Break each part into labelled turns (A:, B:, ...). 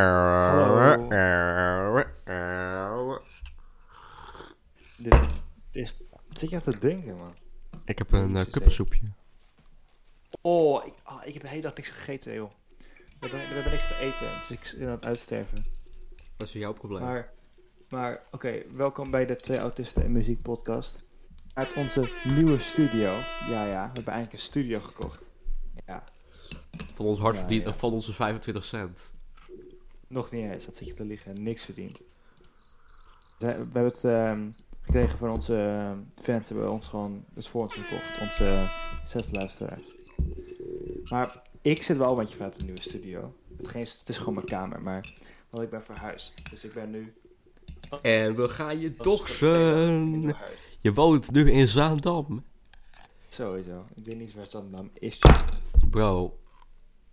A: Hallo.
B: Dit is... Wat zit je aan te denken, man?
A: Ik heb een
B: Jezus,
A: uh,
B: hè.
A: kuppensoepje.
B: Oh ik, ah, ik heb de hele dag niks gegeten, joh. We hebben, we hebben niks te eten, dus ik ben aan het uitsterven.
A: Dat is jouw probleem.
B: Maar, maar oké, welkom bij de Twee Autisten en Muziek podcast. Uit onze nieuwe studio. Ja, ja, we hebben eigenlijk een studio gekocht. Ja,
A: Van ons hard
B: Ja,
A: verdiend
B: ja.
A: en van onze 25 cent.
B: nog niet eens, dat zit je te liggen, niks verdiend. We, we hebben het ehm, gekregen van onze ehm, fans, hebben ons gewoon het voor ons gekocht, onze eh, zes luisteraars. Maar ik zit wel een beetje vanuit de nieuwe studio. Het, geen, het is gewoon mijn kamer, maar want ik ben verhuisd. Dus ik ben nu
A: En we gaan je
B: Dat is in mijn
A: doxen.
B: huis.
A: Je woont nu in Zaandam.
B: Sowieso. Ik weet niet waar Zandam is.
A: Bro,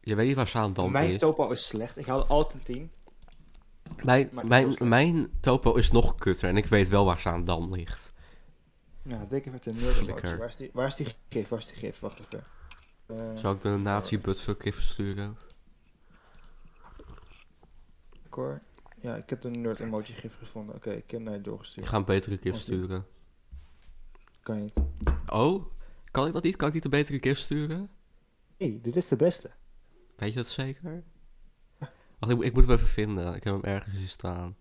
A: je weet niet waar Zaandam
B: Mijn
A: is.
B: topo is slecht. Ik haalde altijd een 10.
A: Mijn,
B: Maar
A: mijn,
B: het is
A: mijn topo is nog kutter en ik weet wel waar Zaandam ligt.
B: Nou, dikke met een
A: Flikker.
B: nerd. Waar, is die- waar is die gif? Waar is die gif? Wacht even. Eh,
A: Zou ik de nazi buttfuck even sturen?
B: ik hoor. Ja, ik heb de nerd emoji gif gevonden. Oké, ik heb hem naar je
A: Ik
B: doorgestuurd.
A: ga een betere gif
B: Oké.
A: sturen.
B: Kan niet. Hé,
A: Oh, kan ik dat niet? Kan ik niet een betere gif sturen?
B: hey, dit is de beste.
A: Weet je dat zeker? Wacht, ik, moet- ik moet hem even vinden. Ik heb hem ergens hier staan.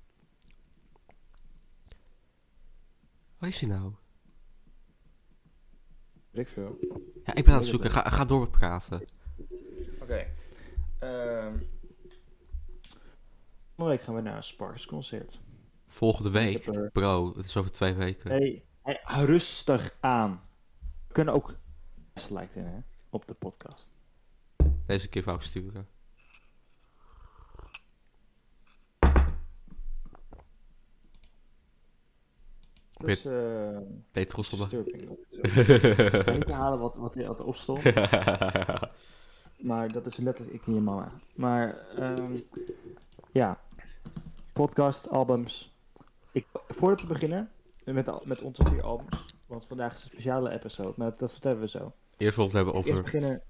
A: Waar is hij nou?
B: Weet ik veel.
A: Ja, ik ben aan het zoeken. Ga, ga door praten.
B: Oké. Ehm volgende week gaan we naar een Sparks concert.
A: Volgende
B: Ik heb
A: week.
B: er-
A: Bro, het is over twee weken.
B: Hey, hey, rustig aan. We kunnen ook select in, hè? Op de podcast.
A: Deze keer wou ik sturen.
B: Dus, eh
A: Nee, trots op me.
B: disturbing. of zo. Ik ga niet herhalen wat, wat er altijd op stond. Maar dat is letterlijk ik en je mama. Maar ehm, ja, podcast, albums. Ik, voordat we beginnen met, al- met onze vier albums, want vandaag is een speciale episode, maar dat, dat vertellen we zo.
A: Eerst wil ik het hebben
B: Eerst
A: over...
B: beginnen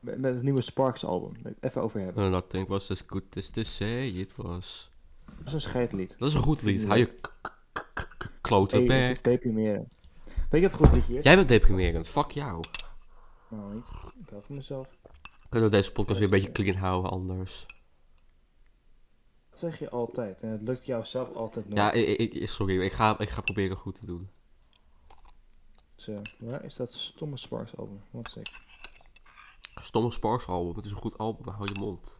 B: met, met het nieuwe Sparks album. Daar wil ik het even over hebben.
A: Uh, nothing was as good as to say it was.
B: Dat is een scheidlied.
A: Dat is een goed lied.
B: Ja.
A: Hou je k- k- k- k- klote
B: Hey, het is
A: bek.
B: deprimerend. Weet je wat goed liedje is?
A: Jij bent deprimerend. Fuck jou.
B: Nou niet. Ik hou van mezelf.
A: Kunnen we deze podcast weer een beetje clean houden anders?
B: Dat zeg je altijd. En het lukt jou zelf altijd nooit.
A: Ja, ik, ik- ik- sorry, ik ga, ik ga proberen goed te doen.
B: Zo, waar is dat stomme Sparks album? Wat zeg
A: Stomme Sparks album, het is een goed album, maar hou je mond.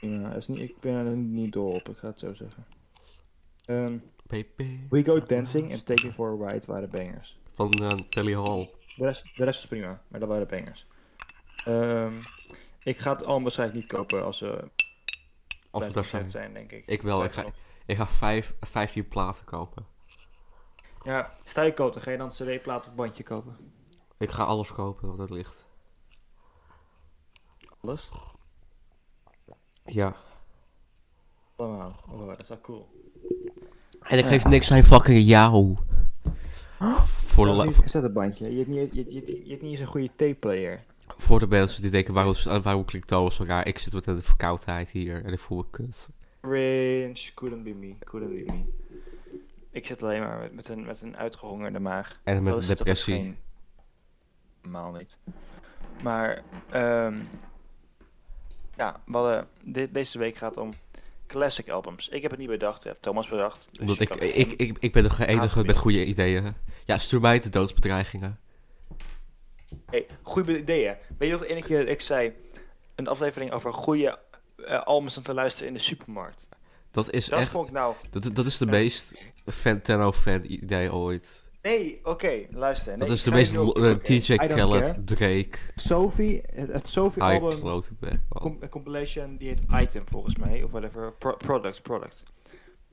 B: Ja, is niet, ik ben er niet dol op, ik ga het zo zeggen. Ehm,
A: Baby.
B: We Go Dancing en Take Me For A Ride waren bangers.
A: Van eh, Telly Hall.
B: De rest, de rest was prima, maar dat waren bangers. Ehm, ik ga het al waarschijnlijk niet kopen als we
A: Als
B: bij
A: we
B: het
A: daar
B: concert
A: zijn.
B: zijn, denk ik.
A: Ik wel, ik ga, ik ga vijf, 15 platen kopen.
B: Ja, sta je kopen, ga je dan een cd-plaat of bandje kopen?
A: Ik ga alles kopen wat het ligt.
B: Alles?
A: Ja.
B: Allemaal. Oh, dat is wel cool.
A: En ik geef niks aan fucking jou. Voor de,
B: Dat is
A: la-
B: niet een cassettebandje. Je hebt niet, je, je, je, je hebt niet eens een goede tape-player.
A: voor de mensen die denken, waarom, waarom klinkt Thomas zo raar? Ik zit met een verkoudheid hier en ik voel me kut.
B: Cringe, couldn't be me, couldn't be me. Ik zit alleen maar met, met, een, met een uitgehongerde maag.
A: En met een
B: Dat Oh, is- dus dat is
A: depressie.
B: geen- Normaal niet. Maar, ehm, ja, we hadden- de- deze week gaat om classic albums. Ik heb het niet bedacht, dat heeft Thomas bedacht. Dus
A: Omdat
B: je
A: ik,
B: kan
A: ik,
B: hem-
A: ik, ik ben de enige
B: Haatgebied.
A: met goede ideeën. Ja, stuur mij de doodsbedreigingen.
B: Hey, goede ideeën. Weet je nog de ene keer dat ik zei, een aflevering over goede eh, albums om te luisteren in de supermarkt.
A: Dat is
B: Dat
A: echt...
B: vond ik nou...
A: Dat, dat is de
B: Ja.
A: meest Fantano fan idee ooit.
B: Nee, oké, luister. Nee,
A: dat is
B: ik
A: de
B: ga je
A: meest
B: nu op-
A: lo- eh,
B: oké,
A: TJ
B: I don't care.
A: Khaled, Drake,
B: Sophie, het, het
A: High
B: Sophie-album,
A: Cloud Back.
B: com- een compilation, die heet Item volgens mij, of whatever, Pro- product, product.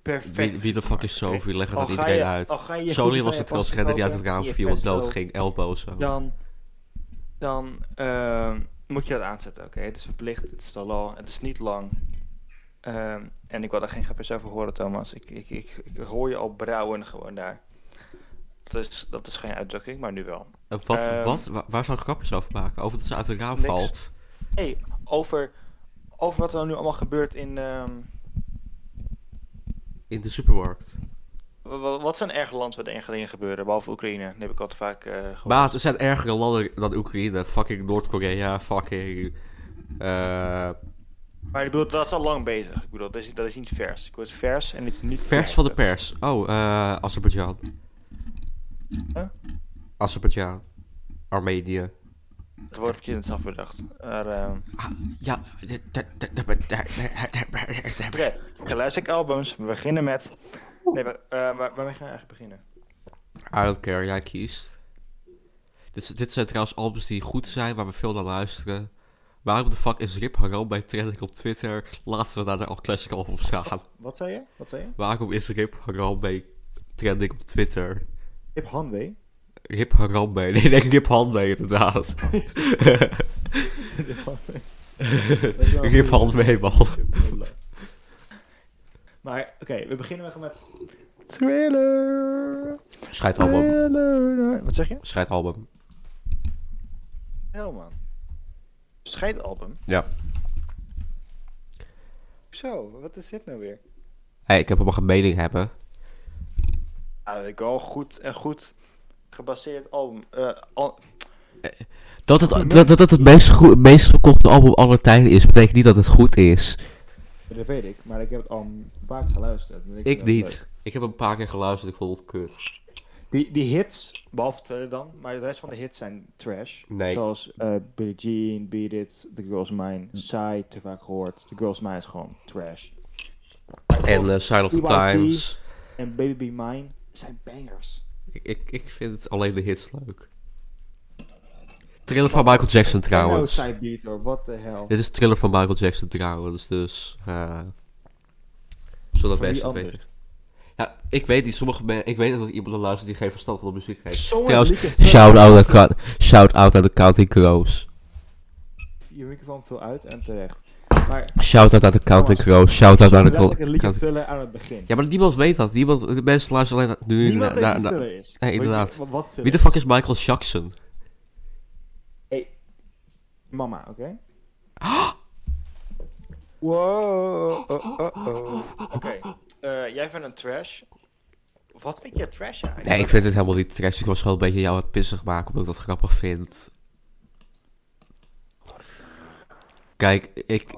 B: Perfect.
A: Wie, wie de fuck is
B: Oké.
A: Sophie? Leg het
B: Al
A: aan
B: ga
A: iedereen
B: je-
A: uit.
B: al ga je
A: Soli
B: goed
A: was
B: van
A: de
B: je
A: transgender die uit het
B: passen
A: raam
B: kopen,
A: viel
B: je
A: en dood
B: pesto,
A: ging, elbow zo.
B: Dan, dan ehm, moet je dat aanzetten, oké? Het is verplicht, het is de law, het is niet lang. Ehm, en ik wil daar geen grapjes over horen, Thomas. Ik, ik, ik, ik hoor je al brouwen gewoon daar. Dat is, dat is geen uitdrukking, maar nu wel.
A: En Eh, wat,
B: Ehm,
A: wat, wa- waar zou ik grapjes over maken? Over dat ze uit het raam
B: niks.
A: valt?
B: Hey, over, over wat er nu allemaal gebeurt in... ehm,
A: In de supermarkt.
B: wa- wa- wat zijn erg land waar dingen dingen gebeuren, behalve Oekraïne? Dat heb ik altijd vaak eh gehoord.
A: Maat, er zijn ergere landen dan Oekraïne. Fucking Noord-Korea, fucking... eh,
B: Maar ik bedoel, dat is al lang bezig. Ik bedoel, dat is, dat is niet vers. Ik bedoel, het is vers en het is niet...
A: vers van de
B: vers.
A: pers. Oh, eh Azerbeidzjan.
B: Huh?
A: Azerbeidzjan. Armenië.
B: Het woord heb je net zelf bedacht. Maar, ehm,
A: Ja.
B: Oké, classic albums. We beginnen met... Nee, we, eh, waar, waarmee gaan we eigenlijk beginnen?
A: I don't care, jij kiest. Dit, is- dit zijn trouwens albums die goed zijn, waar we veel naar luisteren. Waarom de fuck is Rip Haram bij trending op Twitter? Laten we daar de al classic albums gaan.
B: Wat zei je? Wat zei je?
A: Waarom is Rip Haram bij trending op Twitter?
B: Hip Hanwee.
A: Rip Haram bij. Nee, nee, Rip Han mee inderdaad. Rip Han mee, man.
B: Maar, oké, we beginnen met... Thriller.
A: Scheid album.
B: Thriller. Wat zeg je?
A: Scheid album.
B: Hel, man. Scheidalbum?
A: Ja.
B: Zo, wat is dit nou
A: Hé,
B: weer?
A: hey, ik heb hem mag een mening hebben.
B: Ja, Ah, dat ik wel goed en goed gebaseerd album. eh, al-
A: Dat het,
B: Goed,
A: dat, dat het het meest, goe- meest verkochte album aller tijden is, betekent niet dat het goed is.
B: Dat weet ik, maar ik heb het al vaak geluisterd. Dus
A: Ik
B: vind het
A: niet. Ik heb een paar keer geluisterd, ik vond het kut.
B: leuk. Die, die hits, behalve Thriller dan, maar de rest van de hits zijn trash.
A: Nee. Hm.
B: Zoals eh Billie Jean, Beat It, The Girl's Mine, Saai, te vaak gehoord. The Girl's Mine is gewoon trash.
A: En eh, Sign of the
B: BYD.
A: Times.
B: En Baby Be Mine zijn bangers.
A: Ik, ik, ik vind alleen de hits leuk. Thriller van Michael Jackson
B: Nou,
A: trouwens.
B: Saai Beat hoor, what the hell.
A: Dit is Thriller van Michael Jackson trouwens, dus... eh zodat
B: Van wie
A: mensen het
B: anders?
A: weten. Ja, ik weet niet, sommige men, ik weet dat er iemand er luistert die geen verstand van de muziek heeft.
B: Zo'n
A: Trouwens,
B: liedje-
A: shout out aan, Ka- shout out aan de Counting Crows.
B: Je microfoon viel uit en terecht. Maar
A: Shout out aan de Counting
B: Thomas,
A: Crows. Shout out aan de
B: laat ik een liedje
A: Counting
B: vullen aan het begin.
A: Ja, maar niemand weet dat. Niemand, de mensen luisteren alleen nu.
B: Niemand weet
A: na-
B: wie
A: na-
B: Thriller is.
A: Nee, inderdaad.
B: Wat, wat
A: Wie
B: Thriller
A: de
B: is.
A: fuck is Michael Jackson?
B: Mama, oké? Wow. Oh, oh, oh. Oké. Eh, jij vindt een trash. Wat vind je trash eigenlijk?
A: Nee, ik vind het helemaal niet trash. Ik was gewoon een beetje jou aan het pissig maken, omdat ik dat grappig vind. Kijk, ik...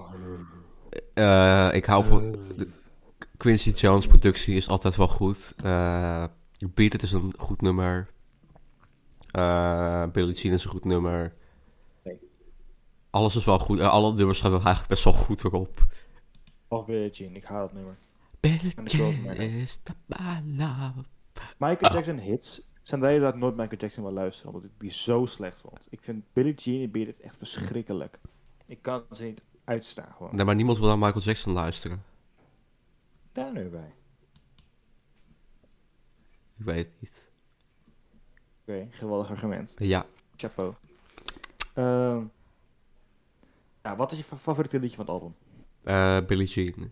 A: eh, ik hou van... de Quincy Jones productie is altijd wel goed. Eh Beat It is een goed nummer. Eh Billie Jean is een goed nummer.
B: Nee.
A: Alles is wel goed. Eh, alle nummers gaan wel eigenlijk best wel goed erop.
B: Of Billie Oh, Jean, ik haal het nummer.
A: Billie
B: En de Girls
A: Jean
B: Matter.
A: is the ballad.
B: Michael
A: Ah.
B: Jackson hits zijn de hele dag nooit Michael Jackson wil luisteren, omdat ik die zo slecht vond. Ik vind Billie Jean en Beat It echt verschrikkelijk. Ik kan ze niet uitstaan gewoon.
A: Nee, maar niemand wil naar Michael Jackson luisteren.
B: Daar nu bij.
A: Ik weet het niet.
B: Oké, geweldig argument.
A: Ja,
B: Chapeau. Ehm, ja, wat is je fa- favoriete liedje van het album?
A: eh Billie Jean.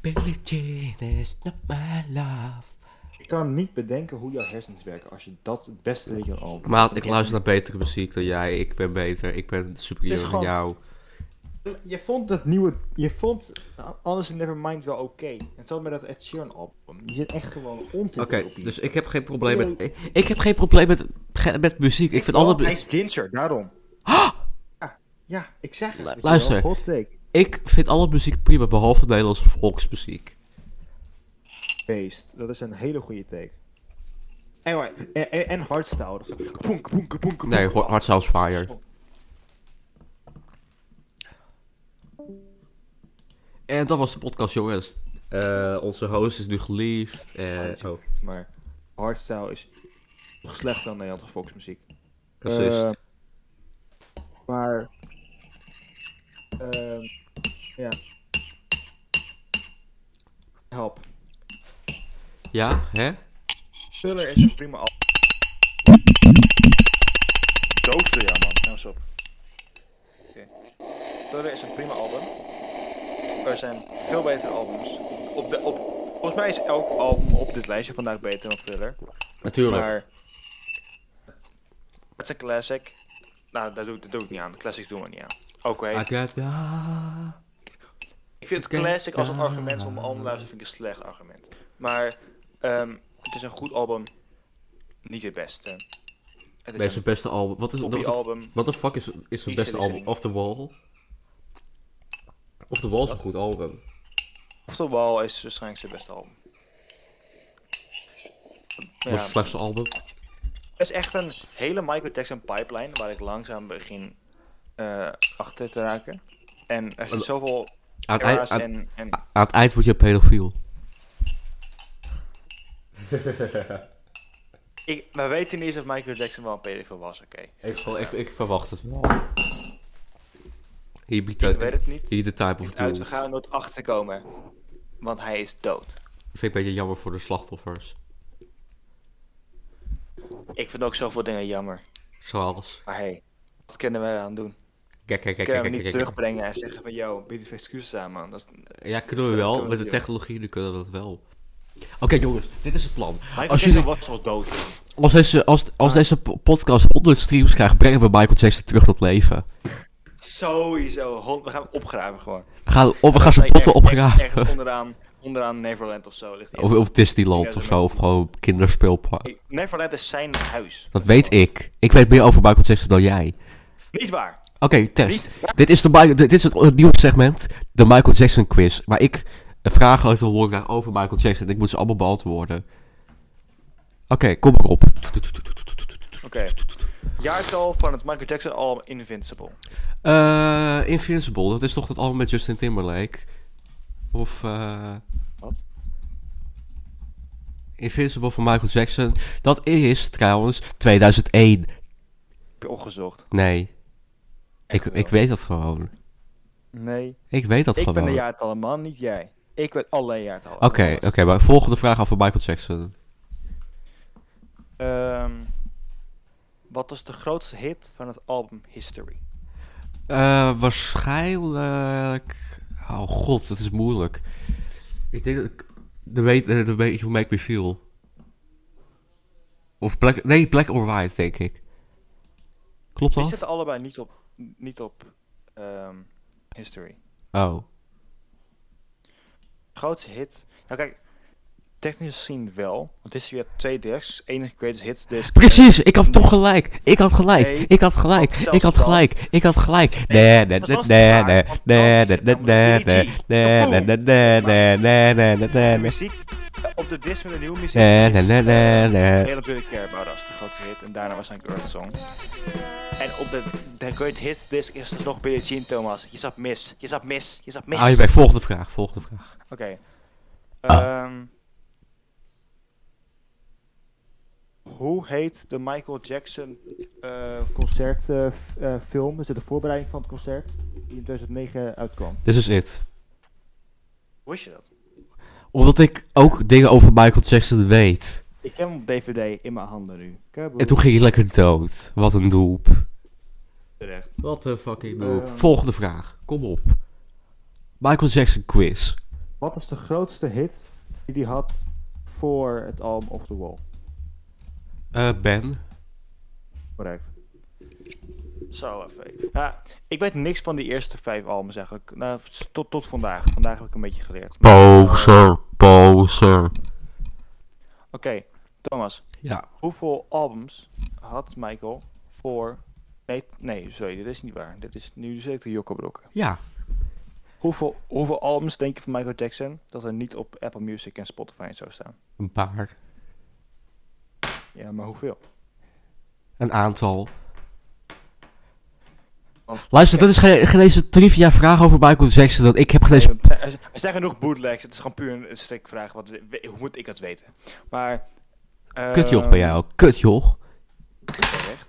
A: Billie Jean is not my love.
B: Ik kan niet bedenken hoe jouw hersens werken als je dat het beste liedje al.
A: Maat, ik luister naar betere muziek dan jij. Ik ben beter. Ik ben superieur
B: Is
A: aan
B: gewoon-
A: jou.
B: Je vond dat nieuwe. Je vond Anders in Nevermind wel oké. En zo met dat Ed Sheeran album. Je zit echt gewoon onzin.
A: Oké, dus ik heb geen probleem met... Ik, ik heb geen probleem met, ge- met muziek. Ik vind altijd... mu-
B: Ed Ginter, daarom. Ja, ja, ik zeg het.
A: Lu-
B: weet je wel.
A: luister.
B: Hot take.
A: Ik vind alle muziek prima, behalve Nederlandse volksmuziek.
B: Beest. Dat is een hele goede take. Anyway, en, en, en hardstyle. Dat is ook- Boenk, boenk, boenk,
A: Nee,
B: boenk.
A: ho- Hard Sounds Fire. En dat was de podcast, jongens. Eh, onze host is nu geliefd. Eh oh,
B: Maar hardstyle is nog slechter dan Nederlandse volksmuziek.
A: racist.
B: Eh, maar. ehm, ja. Help.
A: Ja, hè?
B: Thriller is een prima al. Dooster, ja man. Nou, eens op. Oké. Thriller is een prima album. Er zijn veel betere albums. Op de, op, volgens mij is elk album op dit lijstje vandaag beter dan Thriller.
A: Natuurlijk.
B: Maar. Het is een classic. Nou, daar doe, ik- dat doe ik niet aan. De classics doen we niet aan. Oké.
A: Agatha.
B: Ik vind het
A: Ah, Oké.
B: classic als een
A: Ah.
B: argument om een album te luisteren, vind ik een slecht argument. Maar ehm, het is een goed album, niet het beste. Het
A: Bij
B: is een
A: zijn beste album. Wat is wat
B: hobby
A: de-
B: album.
A: Wat de fuck is, is zijn
B: Niet
A: beste
B: serieus.
A: album? Off the Wall? Off the Wall is een goed album.
B: Off the Wall is waarschijnlijk zijn beste album.
A: Wat is
B: Ja,
A: het slechtste album?
B: het is echt een hele Michael Jackson pipeline waar ik langzaam begin eh, achter te raken. En er zijn zoveel
A: Aan het,
B: era's
A: eind, aan,
B: en, en
A: aan het eind word je pedofiel.
B: ik, we weten niet eens of Michael Jackson wel een pedofiel was, oké.
A: Ik,
B: Dus, eh,
A: verwacht het wel. He be
B: ik weet het niet.
A: he the type of
B: uit, we
A: dude.
B: gaan er nooit achter komen. Want hij is dood.
A: Vind ik een beetje jammer voor de slachtoffers.
B: Ik vind ook zoveel dingen jammer.
A: Zoals...
B: Maar hey, wat kunnen wij eraan doen?
A: Kijk, kijk, kijk,
B: Kunnen
A: kijk,
B: we hem
A: kijk,
B: niet
A: kijk.
B: terugbrengen en zeggen van, yo, bied eens excuses aan, man. Dat is-
A: Ja, kunnen we
B: Dat
A: wel.
B: kunnen we
A: Met de
B: doen.
A: technologie nu kunnen we dat wel. Oké jongens, dit is het plan.
B: Michael
A: Als
B: Jackson
A: jullie-
B: was al dood.
A: Als deze, als, als
B: Ah.
A: deze po- podcast 100 streams krijgt, brengen we Michael Jackson terug tot leven.
B: Sowieso, hond, we gaan hem opgraven gewoon.
A: We gaan, of we gaan zijn
B: Ergens-
A: botten opgraven.
B: Ergens onderaan, onderaan Neverland of zo ligt hij.
A: Of, of Disneyland
B: Ja,
A: of
B: dat
A: zo, of gewoon kinderspeelpark.
B: Ik- Neverland is zijn huis.
A: Dat weet ik. Ik weet meer over Michael Jackson dan jij.
B: Niet waar.
A: Oké, test.
B: Niet
A: Dit is, de, Mi- dit is het, het nieuwe segment, de Michael Jackson quiz. Waar ik vragen uit de hoor krijg over Michael Jackson. Ik moet ze allemaal beantwoorden. Oké, kom maar op.
B: Oké. Jaartal van het Michael Jackson album Invincible.
A: Eh, Invincible, dat is toch dat album met Justin Timberlake? Of... eh,
B: Wat?
A: Invincible van Michael Jackson. Dat is trouwens 2001.
B: Heb je opgezocht?
A: Nee, ik,
B: Echt wel.
A: ik weet dat gewoon.
B: Nee,
A: Ik weet dat
B: ik
A: gewoon.
B: ben de jaartallen man, niet jij. Ik weet alle jaartallen.
A: Oké, oké, maar volgende vraag over Michael Jackson.
B: Ehm, wat was de grootste hit van het album History?
A: Eh, waarschijnlijk. Oh god, dat is moeilijk. Ik denk dat ik. De weet, eh, de weet hoe Make Me Feel. Of Black. Nee, Black or White, denk ik. Klopt
B: Die
A: dat?
B: zitten allebei niet op, niet op ehm, History.
A: Oh.
B: Grootste hit. Nou kijk, technisch gezien wel. Want History had twee discs. Enige greatest hits disc.
A: Precies, ik had toch gelijk. Ik had gelijk.
B: Nee,
A: ik had gelijk.
B: want zelfs
A: Ik had
B: dan-
A: gelijk. Ik had gelijk. Nee, nee,
B: dat
A: nee,
B: was
A: nee,
B: niet
A: nee, nee,
B: waar, want
A: nee,
B: dan
A: nee,
B: zit
A: nee, nee,
B: namelijk BG.
A: nee, nee, nee, nee, nee, nee, nee, nee,
B: De
A: nee.
B: muziek eh, op de disc met de nieuwe muziek.
A: Nee, nee,
B: is,
A: nee, nee,
B: eh,
A: nee.
B: Heel natuurlijk Care About Us, de grootste hit. En daarna was hij een Earth Song. En op de, de Great Hits disc is er nog Billie Jean Thomas. Je zat mis, je zat mis, je zat mis.
A: Hou Ah, je bij, volgende vraag, volgende vraag.
B: Oké. Ehm, hoe heet de Michael Jackson eh,
C: Concertfilm, dus de voorbereiding van het concert die in 2009 uitkwam.
A: This is it.
B: Hoe is je dat?
A: Omdat ik ook dingen over Michael Jackson weet.
C: Ik heb hem op DVD in mijn handen nu. Kaboom.
A: En toen ging hij lekker dood. Wat een doep.
C: terecht.
A: Wat een fucking
C: doep.
B: Eh.
A: Volgende vraag, kom op. Michael Jackson quiz.
C: Wat is de grootste hit die hij had voor het album Off the Wall?
A: Eh, ben?
C: Correct.
B: Zo even. Ja, ik weet niks van die eerste vijf albums eigenlijk. Nou, tot, tot vandaag. Vandaag heb ik een beetje geleerd. Maar-
A: Poser, poser.
B: Oké, Thomas.
A: Ja.
B: Hoeveel albums had Michael voor... Nee, nee, sorry, dit is niet waar. Dit is nu zeker Jokkerbrokken.
A: Ja.
B: Hoeveel, hoeveel albums denk je van Michael Jackson dat er niet op Apple Music en Spotify en zo staan?
A: Een paar.
B: Ja, maar hoeveel?
A: Een aantal.
B: Want-
A: Luister, dat is geen, geen eens een trivia vraag over Michael Jackson. Dat ik heb geen eens...
B: Er zijn- Er zijn genoeg bootlegs. Het is gewoon puur een- een strikvraag. Wat, we- hoe moet ik dat weten? Maar... eh,
A: Kutjoch bij jou. Kutjoch.
B: terecht.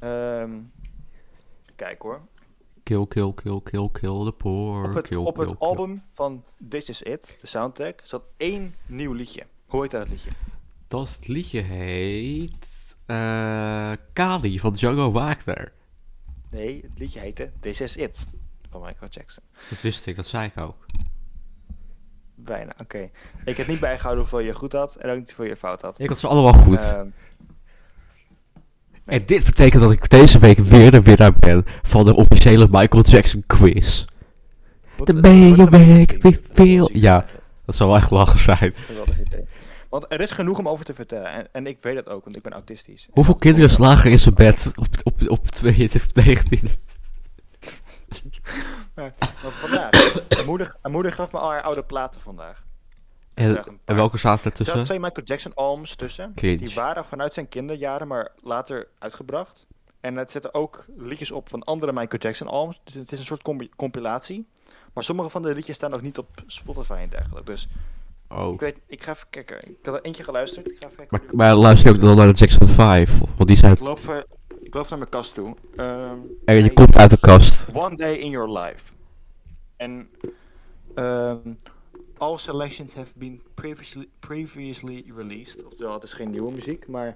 B: Ehm, kijk hoor.
A: Kill, kill, kill, kill, kill the poor.
B: Op het,
A: kill,
B: op
A: kill,
B: het
A: kill.
B: album van This Is It, de soundtrack, zat één nieuw liedje. Hoe heet dat liedje?
A: Dat liedje heet... eh, Kali van Django Wagner.
B: Nee, het liedje heette This Is It van Michael Jackson.
A: Dat wist ik, dat zei ik ook.
B: Bijna, oké. Ik heb niet bijgehouden hoeveel je goed had en ook niet hoeveel je fout had.
A: Ik had ze allemaal goed.
B: Ehm,
A: En dit betekent dat ik deze week weer de winnaar ben van de officiële Michael Jackson quiz. Dan
B: Wordt het-
A: ben je
B: wordt het
A: weer
B: een muziek-
A: weer
B: een
A: veel-
B: muziek-
A: Ja. Dat zou wel echt lachen zijn.
B: Geweldig idee. Want er is genoeg om over te vertellen. En, en ik weet dat ook, want ik ben autistisch.
A: Hoeveel kinderen slagen in zijn bed op, op, op 22, 19?
B: Want vandaag, mijn moeder, mijn moeder gaf me al haar oude platen vandaag. Zeg
A: En,
B: een
A: en
B: paar.
A: welke zaten
B: Er zaten
A: ertussen?
B: twee Michael Jackson albums tussen.
A: Dus, eh, Cringe.
B: Die waren vanuit zijn kinderjaren, maar later uitgebracht. En het zitten ook liedjes op van andere Michael Jackson albums. Dus het is een soort combi- compilatie. Maar sommige van de liedjes staan ook niet op Spotify en dergelijke. Dus
A: Oh.
B: ik, weet, ik ga even kijken. Ik had er eentje geluisterd. Ik ga even kijken.
A: Maar, maar luister je ook dan naar de Jackson 5? Want die zijn...
B: Ik loop, eh, ik loop naar mijn kast toe. Ehm,
A: En je
B: hij
A: komt uit de
B: heet
A: kast.
B: One Day in Your Life. En ehm, all selections have been previously, previously released. Oftewel, het is geen nieuwe muziek, maar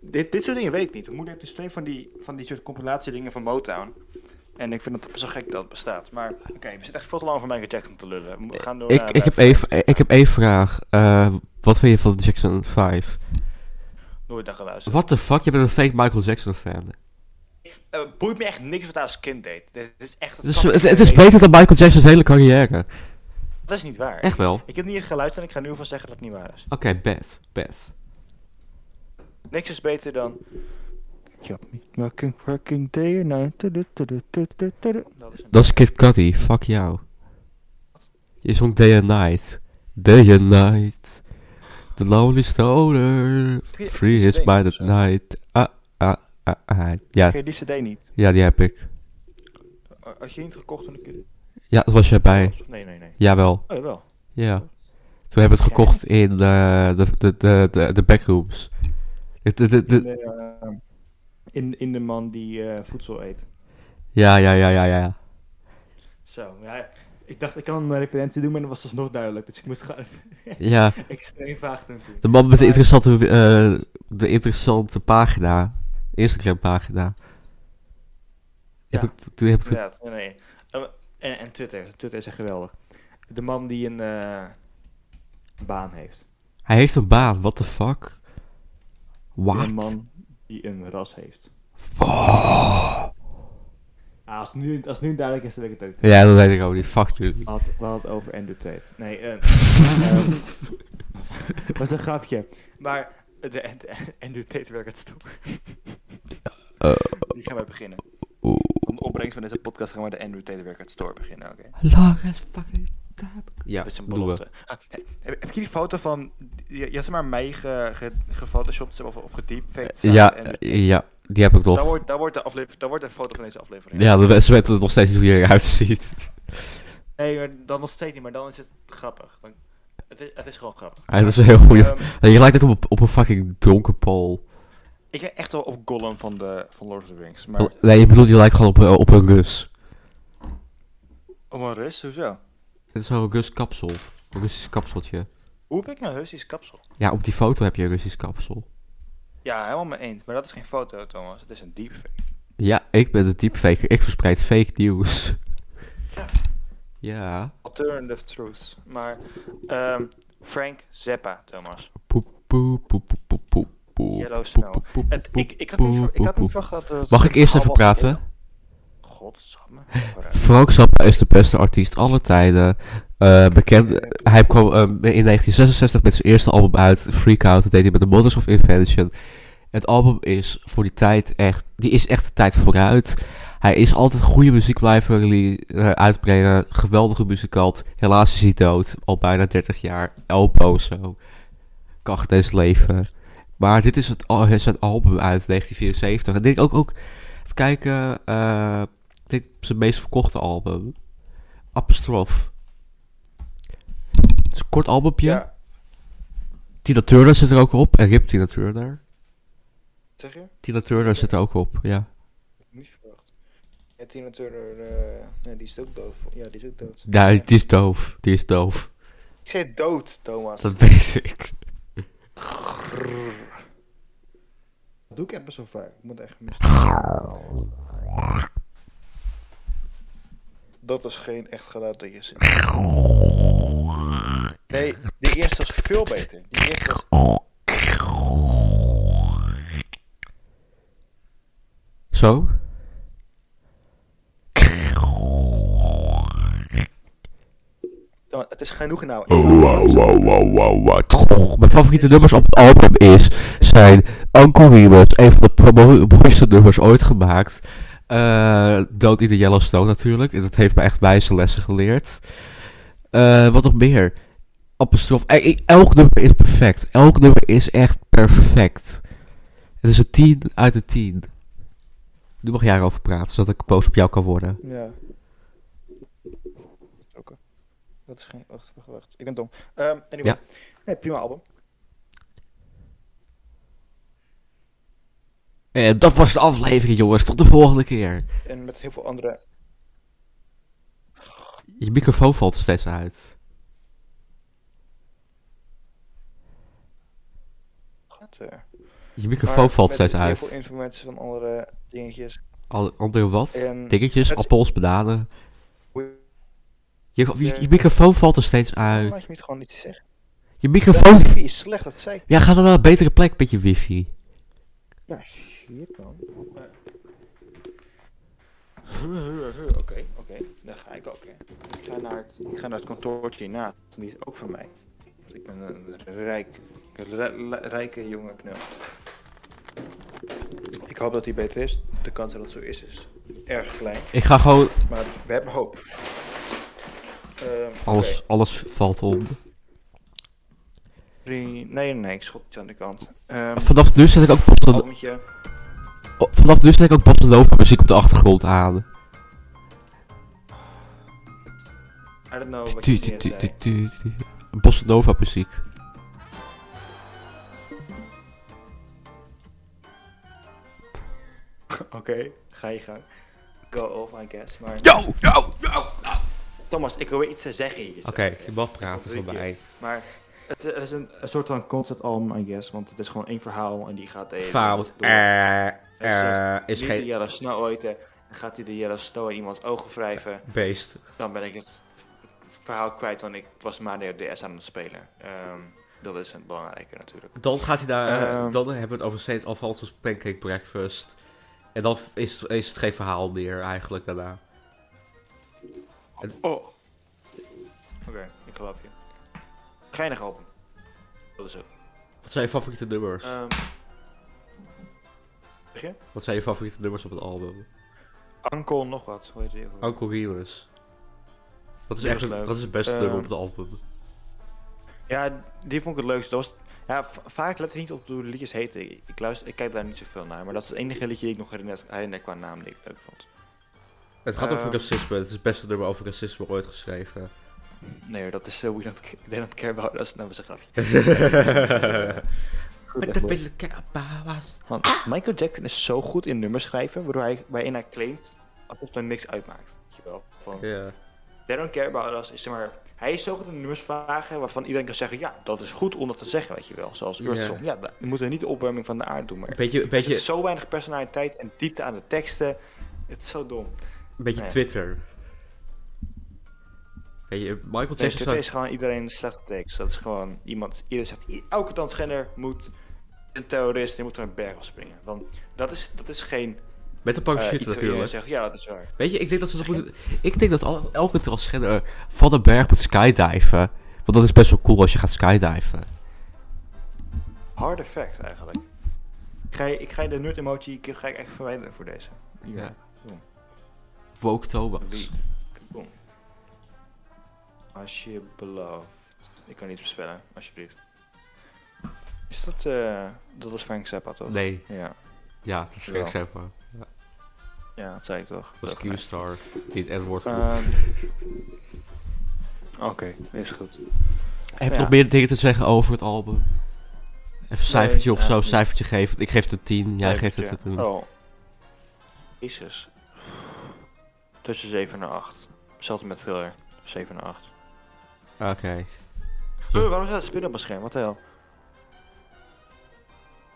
B: dit, dit soort dingen weet ik niet. Mijn moeder heeft dus twee van die, van die soort compilatiedingen van Motown. En ik vind het zo gek dat het bestaat. Maar oké, we zitten echt veel te lang van Michael Jackson te lullen. We gaan door
A: Ik,
B: naar eh,
A: ik, heb
B: de-
A: één, ik heb één vraag. Eh, wat vind je van de Jackson 5?
B: Nooit naar geluisterd.
A: What the fuck? Je bent een fake Michael Jackson fan.
B: Eh, boeit me echt niks wat hij als kind deed. Dit dit is echt...
A: Het is, het, het is beter dan Michael Jackson's hele carrière.
B: Dat is niet waar.
A: Echt wel. Oké,
B: Ik heb niet eens geluisterd en ik ga nu van zeggen dat het niet waar is.
A: bad. Bad.
B: Niks is beter dan. Working, working day and night. tudu, tudu, tudu, tudu. Dat is een-
A: Dat is Kid Cudi. Fuck jou. Je zong Day and Night. Day and Night. The Lonely Stoner.
B: Heb je- heb je
A: Free
B: die
A: is
B: CD
A: by
B: of
A: the
B: zo?
A: night. Ah, ah, ah, ah. Ja,
B: Ken je die CD niet?
A: ja, die heb ik.
B: Als je niet gekocht, dan kun je.
A: Ja, dat was jij bij.
B: Nee, nee, nee.
A: Jawel.
B: Oh, jawel.
A: Ja. Toen hebben we het gekocht in eh, de, de, de, de, de backrooms. De, de, de,
C: In
A: de-
C: de, eh, in, in de man die eh, voedsel eet.
A: ja, ja, ja, ja, ja.
C: Zo, ja. Ik dacht, ik kan een referentie doen, maar dat was alsnog duidelijk. Dus ik moest gewoon even
A: Ja,
C: extreem vaag doen toen.
A: de man met de interessante, eh, de interessante pagina. Instagram pagina. Heb
C: Ja.
A: ik, toen heb ik
C: Inderdaad, nee, nee. Eh, En, en Twitter. Twitter is echt geweldig. De man die een eh, baan heeft.
A: Hij heeft een baan, what the fuck? What?
C: Een man die een ras heeft. Ah, als, nu, als nu duidelijk is, dan weet ik het ook.
A: Ja, dat weet ik ook niet, fuck jullie.
C: We hadden we hadden het over Andrew Tate. Nee, eh. ehm, was een grapje. Maar
B: De, de, de- Andrew Tate werkt het stoer.
A: Eh.
B: Die gaan we beginnen.
A: Oeh.
B: Om de opbrengst van deze podcast gaan we de Andrew Tate werkt het stoer beginnen. Oké.
A: Long as fucking time. Ja,
B: dat is een
A: doen we.
B: belofte. Ah, heb, heb je die foto van. Je, je had ze maar mij ge, ge, gefotoshopt ze hebben of opgetypt.
A: Ja, eh, ja, die heb ik
B: Daar
A: nog.
B: wordt, daar, wordt de aflever, daar wordt de foto van deze aflevering.
A: Ja, de- ze weten nog steeds niet hoe je eruit ziet.
B: Nee, maar dan nog steeds niet, maar dan is het grappig. Dan, het, is, het is gewoon grappig.
A: Hij is een heel goede.
B: Ehm,
A: Je lijkt het op, op een fucking dronken Paul.
B: ik ben echt wel op Gollum van, de, van Lord of the Rings. Maar
A: Nee, je bedoelt, je lijkt gewoon op, eh, op een Rus.
B: om een Rus, hoezo?
A: Het is zo'n Rus kapsel. Een Russisch kapseltje.
B: Hoe heb ik nou een Russisch kapsel?
A: Ja, op die foto heb je een Russisch kapsel.
B: Ja, helemaal mee eens. Maar dat is geen foto, Thomas. Het is een deepfake.
A: Ja, ik ben de deepfaker. Ik verspreid fake nieuws. Ja.
B: Alternative truth. Maar ehm, Frank Zappa, Thomas.
A: Poep, poep, poep, poep, poep, poep, poep,
B: Yellow
A: poep,
B: Snow.
A: poep, poep,
B: Het, ik, ik, had
A: poep,
B: niet, ver- ik had
A: poep,
B: niet verwacht dat... het
A: Mag ik
B: zo'n
A: eerst even
B: verhaal was
A: praten?
B: in- Godsamme.
A: poep.
B: vooruit.
A: Frank Zappa is de beste artiest aller tijden. Eh, bekend, hij kwam eh, in 1966 met zijn eerste album uit, Freak Out. Dat deed hij met de Models of Invention. Het album is voor die tijd echt, die is echt de tijd vooruit. Hij is altijd goede muziek blijven rele- eh, uitbrengen. Geweldige muzikant. Helaas is hij dood. Al bijna 30 jaar. Elbow zo. Kacht des leven. Maar dit is het, al- zijn album uit 1974. En denk ik ook, ook even kijken. eh, ik denk zijn meest verkochte album. Apostrof. Het is een kort albumpje.
B: Ja,
A: Tina Turner zit er ook op. En Rip Tina Turner.
B: zeg je?
A: Tina Turner zit er ook op, ja.
B: Niet verwacht. Ja, Tina Turner, eh, nee, die is ook dood. Ja, die is ook dood.
A: Ja, die is doof. Die is doof.
B: Ik zei dood, Thomas.
A: Dat weet ik.
B: Dat doe ik echt best wel vaak. Ik moet echt mis. Dat is geen echt geluid dat je ziet. Nee, die eerste was veel beter. Die eerste was...
A: Zo?
B: Ja, Het is genoeg nou.
A: Oh, Mijn favoriete nummers op het album is, zijn Uncle Remus, een van de promo- mooiste nummers ooit gemaakt. Eh Dood in de Yellowstone natuurlijk, dat heeft me echt wijze lessen geleerd. Eh, wat nog meer? Apostrof. Eh, ik- Elk nummer is perfect. Elk nummer is echt perfect. Het is een 10 uit de 10. Nu mag jij erover praten, zodat ik boos op jou kan worden.
B: Ja. Oké. Dat is geen... Wacht, wacht, wacht. Ik ben dom. Ehm anyway.
A: Ja.
B: Nee, prima album.
A: En Eh, dat was de aflevering, jongens. Tot de volgende keer.
B: En met heel veel andere...
A: Je microfoon valt er steeds uit.
B: Gaat, eh,
A: Je
B: maar
A: microfoon valt
B: met
A: steeds
B: Heel
A: uit.
B: veel informatie van andere dingetjes.
A: Al- Andere wat?
B: En
A: Dingetjes,
B: het-
A: appels, bananen.
B: Hoe-
A: Je, je,
B: Eh.
A: je microfoon valt er steeds
B: Waarom laat
A: uit.
B: je me het gewoon niet zeggen?
A: Je
B: Ja,
A: microfoon...
B: wifi is slecht, dat zei ik.
A: Ja, ga dan naar een betere plek met je wifi.
B: Ja, shit man. Oké, oké. Dan ga ik ook. Hè. Ik, ga naar het, ik ga naar het kantoortje hierna. Die is ook van mij. Want ik ben een rijk, rij- rij- rijke jonge knul. Ik hoop dat hij beter is. De kans dat het zo is, is erg klein.
A: Ik ga gewoon...
B: Maar we hebben hoop. Ehm,
A: Alles,
B: oké.
A: alles valt om.
B: Drie- Nee, nee, ik schop iets aan de kant. Ehm
A: Vanaf nu zet ik ook bossa,
B: albumtje.
A: oh, vanaf nu zet ik ook bossa nova muziek op de achtergrond aan.
B: Oh, I don't know what
A: Tu-
B: je
A: tu-
B: net
A: tu-
B: zei.
A: tu- tu- tu- Bossa nova muziek.
B: Oké, ga je gang. Go off, I guess. Maar
A: Yo, yo, yo!
B: Thomas, ik wil iets te zeggen hier.
A: Oké, je mag praten
B: Drie keer.
A: voorbij.
B: Maar het eh, is een, een soort van concept album, I guess. Want het is gewoon één verhaal en die gaat de hele
A: Fout.
B: tijd door.
A: Eh,
B: Hij
A: eh, is
B: Niet de
A: geen
B: Yellowsnow ooit. eh, Dan gaat hij de Yellowsnow in iemands ogen wrijven.
A: beest.
B: Dan ben ik het verhaal kwijt, want ik was maar de DS aan het spelen. Ehm, dat is een belangrijke natuurlijk.
A: Dan gaat hij daar. eh,
B: Ehm.
A: dan hebben we het over St. Alphonsus Pancake Breakfast. En dan is, is het geen verhaal meer eigenlijk daarna.
B: Oh. Oké, ik geloof je. Geinig album. Dat is het.
A: Wat zijn je favoriete nummers?
B: Ehm, zeg je?
A: Wat zijn je favoriete nummers op het album?
B: Ankel nog wat, hoe heet die?
A: Uncle Remus. Dat is
B: Die
A: echt
B: was
A: een-
B: leuk.
A: dat is het beste
B: Ehm.
A: nummer op het album.
B: Ja, die vond ik het leukste. Dat was, ja, v- vaak let ik niet op hoe de liedjes heten. Ik, luister, ik kijk daar niet zoveel naar, maar dat is het enige liedje die ik nog herinner, herinner qua naam die ik leuk vond.
A: Het gaat over
B: Ehm.
A: racisme. Het is het beste nummer over racisme ooit geschreven.
B: Nee, dat is eh, We Don't, Ca- They don't Care About Us. Nou, dat was een grapje. Goed,
A: Met
B: echt
A: de
B: mooi.
A: vele kabawas.
B: Want Michael Jackson is zo goed in nummers schrijven, waardoor hij, waarin hij claimt alsof er niks uitmaakt. Weet je wel? Van,
A: Ja.
B: They don't care about us. Is, zeg maar, hij is zo goed in nummers vragen waarvan iedereen kan zeggen: ja, dat is goed om dat te zeggen, weet je wel. Zoals Earth
A: Ja.
B: Song. Ja, dat- we moeten niet de opwarming van de aarde doen. Maar
A: Beetje,
B: er zit
A: beetje,
B: zo weinig personaliteit en diepte aan de teksten. Het is zo dom.
A: beetje
B: Nee.
A: Twitter. Weet je, Michael Jackson zou-
B: Nee, Twitter is gewoon iedereen een slechte tekst. Dat is gewoon iemand, iedereen zegt: "I- elke transgender moet een terrorist en moet er een berg af springen. Want dat is, dat is geen.
A: met een
B: eh,
A: parachute
B: iets waar iedereen
A: natuurlijk.
B: zegt: ja, dat is waar.
A: Weet je, ik denk dat ze dat moeten. Ik denk dat alle- elke transgender van den berg moet skydiven. Want dat is best wel cool als je gaat skydiven.
B: Hard effect eigenlijk. Ik ga, je- ik ga je de nerd emoji ik ga ik echt verwijderen voor deze.
A: Ja.
B: Ja.
A: Woke Thomas.
B: Lead. Kaboom. Alsjeblieft. Ik kan niet bespellen, alsjeblieft. Is dat, eh, dat was Frank Zappa toch?
A: Nee,
B: Ja,
A: ja, dat is
B: Jawel.
A: gek zeg maar.
B: ja, dat zei ik toch.
A: Dat
B: Toch, nee.
A: is Q-Star, die het N-woord
B: Ehm,
A: roept.
B: Oké, is goed.
A: Heb je
B: ja.
A: nog meer dingen te zeggen over het album? Even een cijfertje of
B: eh,
A: zo, een
B: niet.
A: cijfertje geven. Ik geef het een 10, jij
B: Nee,
A: geeft het
B: ja.
A: een...
B: Oh. Jezus. Tussen 7 en 8. Zelfs met thriller. 7 en 8. Oh.
A: Oké. Hm.
B: Eh, waarom staat het spin op mijn scherm? Wat de hel?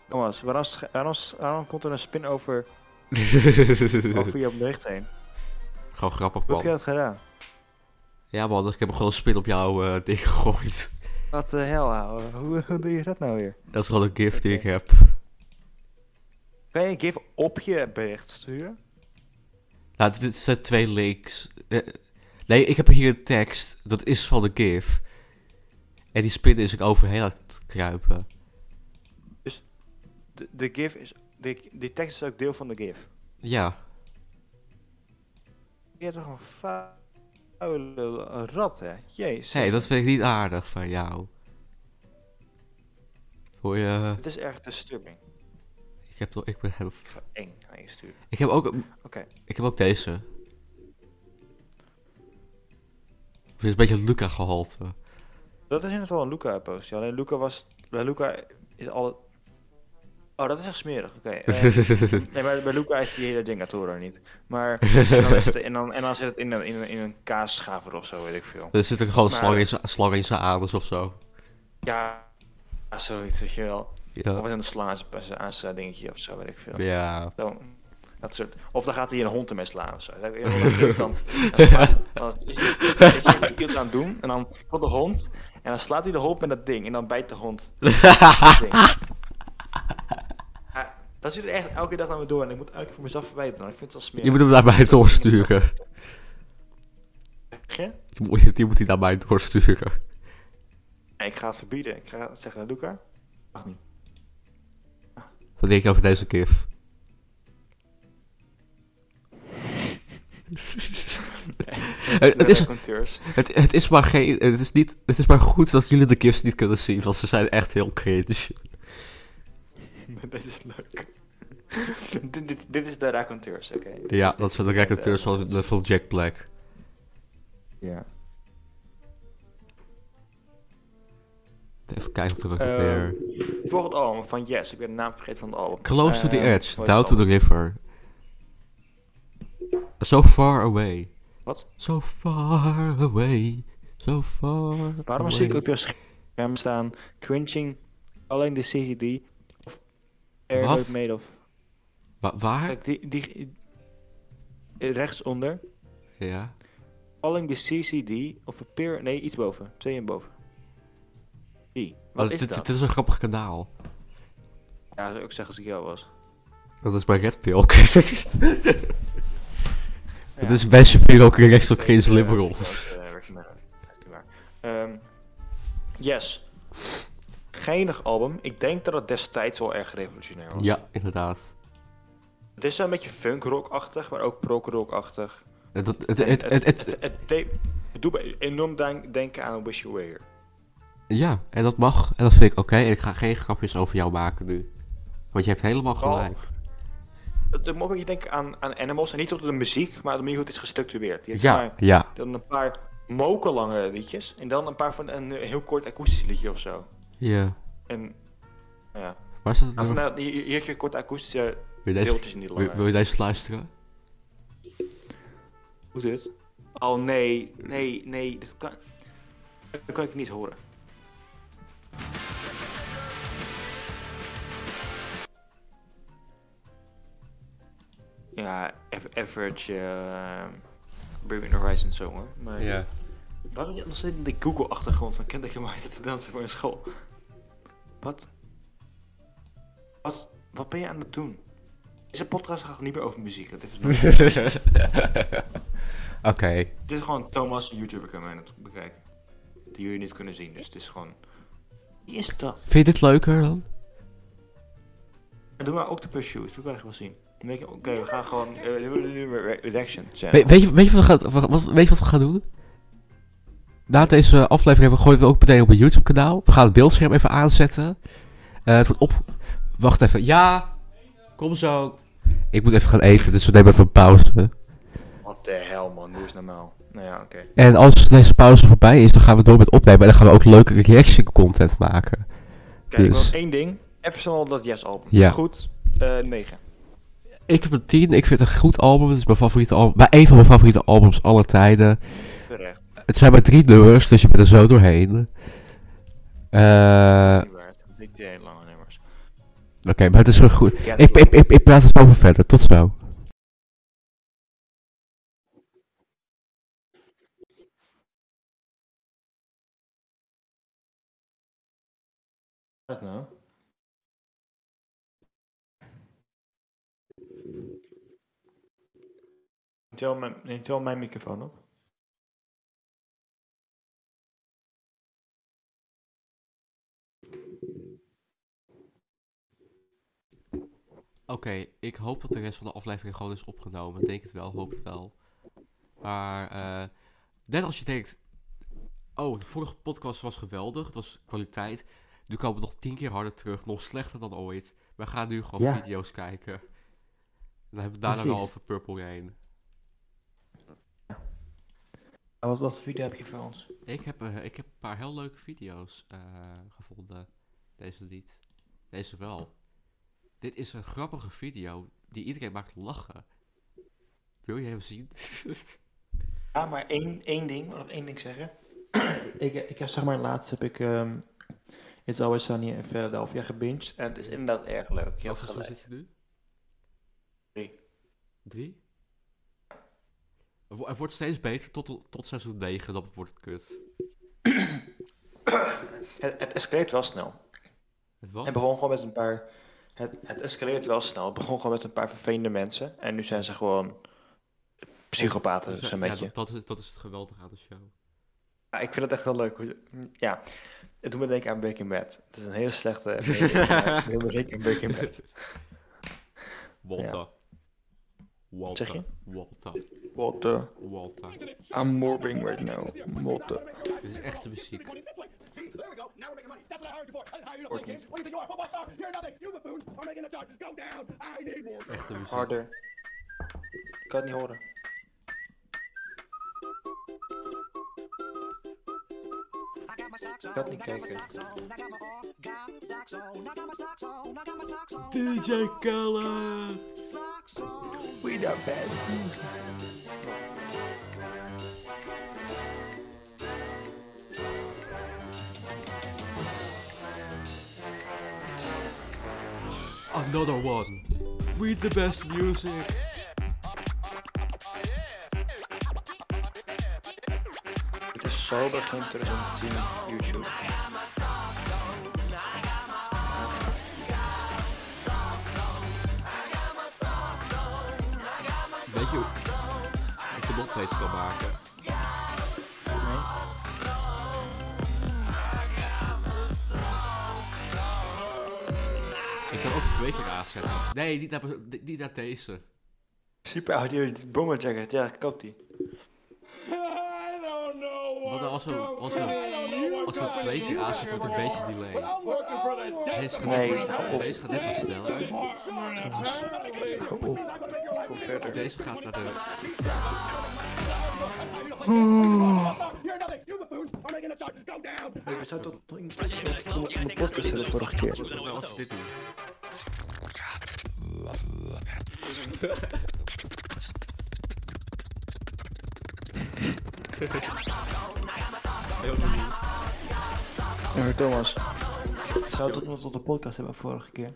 B: Thomas, waarom, sch- waarom, s- waarom komt er een spin over, over je bericht heen?
A: Gewoon grappig,
B: Hoe heb je
A: man.
B: dat gedaan?
A: Ja, man, ik heb hem gewoon spin op jouw eh, ding gegooid.
B: Wat de hel, ouwe? Hoe, hoe doe je dat nou weer?
A: Dat is gewoon een gift die ik
B: Oké.
A: heb.
B: Kan je een GIF op je bericht sturen?
A: Nou, dit- dit zijn twee links. Eh, nee, ik heb hier een tekst. Dat is van de GIF. En die spin is ik overheen aan het kruipen.
B: De, de GIF is. De, die tekst is ook deel van de GIF.
A: Ja.
B: Je hebt toch een vuile rat, hè? Jezus.
A: Hé, dat vind ik niet aardig van jou. Hoor je?
B: Het is echt disturbing.
A: Ik heb, nog- ik ben- heb,
B: Ik ga eng aan je sturen.
A: ik heb ook...
B: Oké.
A: Ik heb ook deze. Het is een beetje Luca gehalte.
B: Dat is inderdaad wel een Luca-post. Ja, alleen Luca was. Bij Luca is alle. Oh, dat is echt smerig. Oké. eh, nee, maar bij Luca is die hele Dingatoro niet. Maar. Dan is het, en, dan, en dan zit het in een, in een, in een kaasschaver of zo, weet ik veel.
A: er zit ook gewoon een
B: Maar-
A: slang in zijn- slang in zijn anus of zo.
B: Ja, zoiets, weet je wel. Of
A: Ja.
B: in een slaan, aan zijn dingetje of zo, weet ik veel.
A: Ja.
B: Zo, dat soort. Of dan gaat hij een hond ermee slaan of zo. Dan geeft dan, dan slaat- dan is hij- is hij iets aan het doen en dan komt de hond en dan slaat hij de hond met dat ding en dan bijt de hond. Dat ding. Ja, dat zit er echt elke dag aan me door en ik moet elke keer voor mezelf verwijten. Ik vind het wel smerig.
A: Je moet hem naar mij doorsturen. Je moet, die moet hij naar mij doorsturen.
B: En ik ga het verbieden. Ik ga zeggen, Luca, mag niet.
A: Wat denk je over deze gif? het, het, is,
B: Conteurs.
A: het, het is maar geen, het, is niet, het is maar goed dat jullie de gifs niet kunnen zien, want ze zijn echt heel kritisch.
B: Dit is leuk. dit, dit, dit is de raconteurs, oké. Dit
A: Ja,
B: is-
A: dat zijn de
B: dit is echt,
A: recruteurs
B: eh,
A: van, de- van Jack Black.
C: Ja.
A: Even kijken of er
B: Eh,
A: ook weer...
B: Volgend album van Yes, ik ben de naam vergeten van het album.
A: Close to the
B: Eh,
A: edge,
B: hoe heet
A: down
B: het
A: to the
B: album?
A: river. So far away.
B: Wat?
A: So far away. So far
B: Waarom
A: away.
B: zie ik op je scherm staan Quenching alleen de CGD of Airload
A: Wat?
B: Made of?
A: Wa- waar?
B: Kijk, die, die eh, rechtsonder.
A: Ja.
B: Calling the CCD of a peer. Nee, iets boven. Twee en boven. Die. Wat
A: Oh,
B: is
A: dit,
B: dat?
A: dit is een grappig kanaal.
B: Ja, zou ik zeggen als ik jou was.
A: Dat is bij Red Pill ook. Het is bij Shapiro ook rechts op Chris Liberals.
B: Eh, werkt niet meer. Werkt niet meer. Ehm, yes. Geinig album. Ik denk dat het destijds wel erg revolutionair was.
A: Ja, inderdaad.
B: Het is wel een beetje funkrock-achtig, maar ook prog-rock-achtig.
A: Eh, Dat, het,
B: En
A: het, het, het-
B: het- het deed- het doet me enorm denk- denken aan Wish You Were Here.
A: ja, en dat mag. En dat vind ik oké. En ik ga geen grapjes over jou maken nu. Want je hebt helemaal
B: Vooral-
A: gelijk.
B: Het doet me ook een beetje denken aan, aan Animals. En niet op de muziek, maar op de manier hoe het is gestructureerd. Je hebt zeg
A: Ja,
B: maar,
A: ja.
B: dan een paar mokerlange liedjes. En dan een paar van een eh, heel kort akoestisch liedje of zo.
A: Ja.
B: En ja.
A: Waar is dat?
B: Maar
A: nummer?
B: vandaar, hier, hier heb je korte akoestische
A: Wil je deze-
B: deeltjes niet
A: wil-
B: langer.
A: wil je deze luisteren?
B: Hoe dit? Oh nee, nee, nee, dit kan. Dat kan ik niet horen. Ja, av- average uh, Bring Me the Horizon zo hoor. Maar waarom heb je nog steeds die Google-achtergrond van Kendrick Lamar zit te dansen voor een school? Wat? Wat? Wat ben je aan het doen? Deze podcast gaat niet meer over muziek. Dat is
A: Oké.
B: Dit is gewoon Thomas, een YouTuber, kan mij het bekijken. Die jullie niet kunnen zien, dus het is gewoon... Wie is dat?
A: Vind je dit leuker dan?
B: En doe maar ook de pursuit, dat wil ik eigenlijk wel zien. Dan denk je, oké, we gaan gewoon... eh, we doen nu weer re- reaction channel.
A: We- weet, je, weet, je wat we gaan, wat- wat- weet je wat we gaan doen? Na deze aflevering hebben, gooien we ook meteen op een YouTube-kanaal. We gaan het beeldscherm even aanzetten. Eh, het wordt op... Wacht even. Ja! Kom zo. Ik moet even gaan eten, dus we nemen even een pauze.
B: Wat de hel man, doe eens normaal. Nou ja, oké.
A: En als deze pauze voorbij is, dan gaan we door met opnemen. En dan gaan we ook leuke reaction-content maken.
B: Kijk,
A: Dus-
B: nog één ding. Even snel op dat Yes album.
A: Ja.
B: Goed, eh 9.
A: Ik heb een 10. Ik vind het een goed album. Het is mijn favoriete album. Maar één van mijn favoriete albums aller tijden.
B: Terecht,
A: Het zijn maar drie nummers, dus je bent er zo doorheen. Eh,
B: niet waar. Het zijn niet heel lange nummers.
A: Oké, maar het is zo goed.
B: Yes,
A: Ik, ik, ik, ik praat er zo over verder. Tot zo.
B: Wat nou? Neemt wel mijn, neemt wel mijn microfoon op.
A: Oké, ik hoop dat de rest van de aflevering gewoon is opgenomen. Ik Denk het wel, hoop het wel. Maar eh, net als je denkt... Oh, de vorige podcast was geweldig. Het was kwaliteit. Nu komen we nog tien keer harder terug. Nog slechter dan ooit. We gaan nu gewoon
C: Ja.
A: video's kijken. En dan hebben we het daarna
C: Precies.
A: wel over Purple Rain.
B: En wat, wat voor video heb je voor ons?
A: Ik heb, eh, ik heb een paar heel leuke video's eh, gevonden. Deze niet. Deze wel. Dit is een grappige video die iedereen maakt lachen. Wil je hem zien?
B: Ja, maar één, één ding, wat ik één ding zeggen.
C: Ik, ik heb zeg maar laatst heb ik ehm It's Always Sunny in Philadelphia gebinged.
B: En het is inderdaad erg leuk. Je had
A: Wat voor
B: gelijk.
A: zit je nu?
B: Drie.
A: Drie? Het wo- het wordt steeds beter tot, tot seizoen 9, dan wordt het kut.
B: Het, het escaleert wel snel.
A: Het was?
B: Het begon gewoon met een paar. Het, het escaleert wel snel. Het begon gewoon met een paar vervelende mensen. En nu zijn ze gewoon psychopaten,
A: Dus,
B: zo'n
A: ja,
B: beetje.
A: dat, dat, is, dat is het geweldige aan de show.
B: Ja, ik vind het echt wel leuk. hoe ze- Ja, het doet me denken aan Breaking Bad. Het is een heel slechte. eh, het doet me denken aan Breaking Bad.
A: Walter. Walter.
B: zeg je?
A: Walter.
B: Walter,
A: Walter.
B: I'm morbing right now. Walter.
A: Dit is echte muziek. Echte muziek.
B: Harder. Ik kan het niet horen.
D: Ik had niet kijken.
A: DJ Khaled.
B: We the best.
A: Another one. With the best music.
B: Het is zo begin 2010 YouTube.
A: Weet je hoe ik de nog beter kan maken? Ik kan ook twee keer aanzetten. Nee, niet naar, niet naar deze.
B: Super audio bomber jacket. Ja, ik koop die.
A: Want als we, als we, als we twee keer aanzetten, wordt het een beetje delay. Deze gaat,
B: Nee,
A: net,
B: hou op.
A: deze gaat net wat sneller.
B: Kom verder.
A: Deze gaat naar de...
B: We staan tot nog in de podcast de vorige keer.
A: Nou, als we dit doen.
B: Ja, Thomas. We zouden tot nog tot de podcast hebben vorige keer.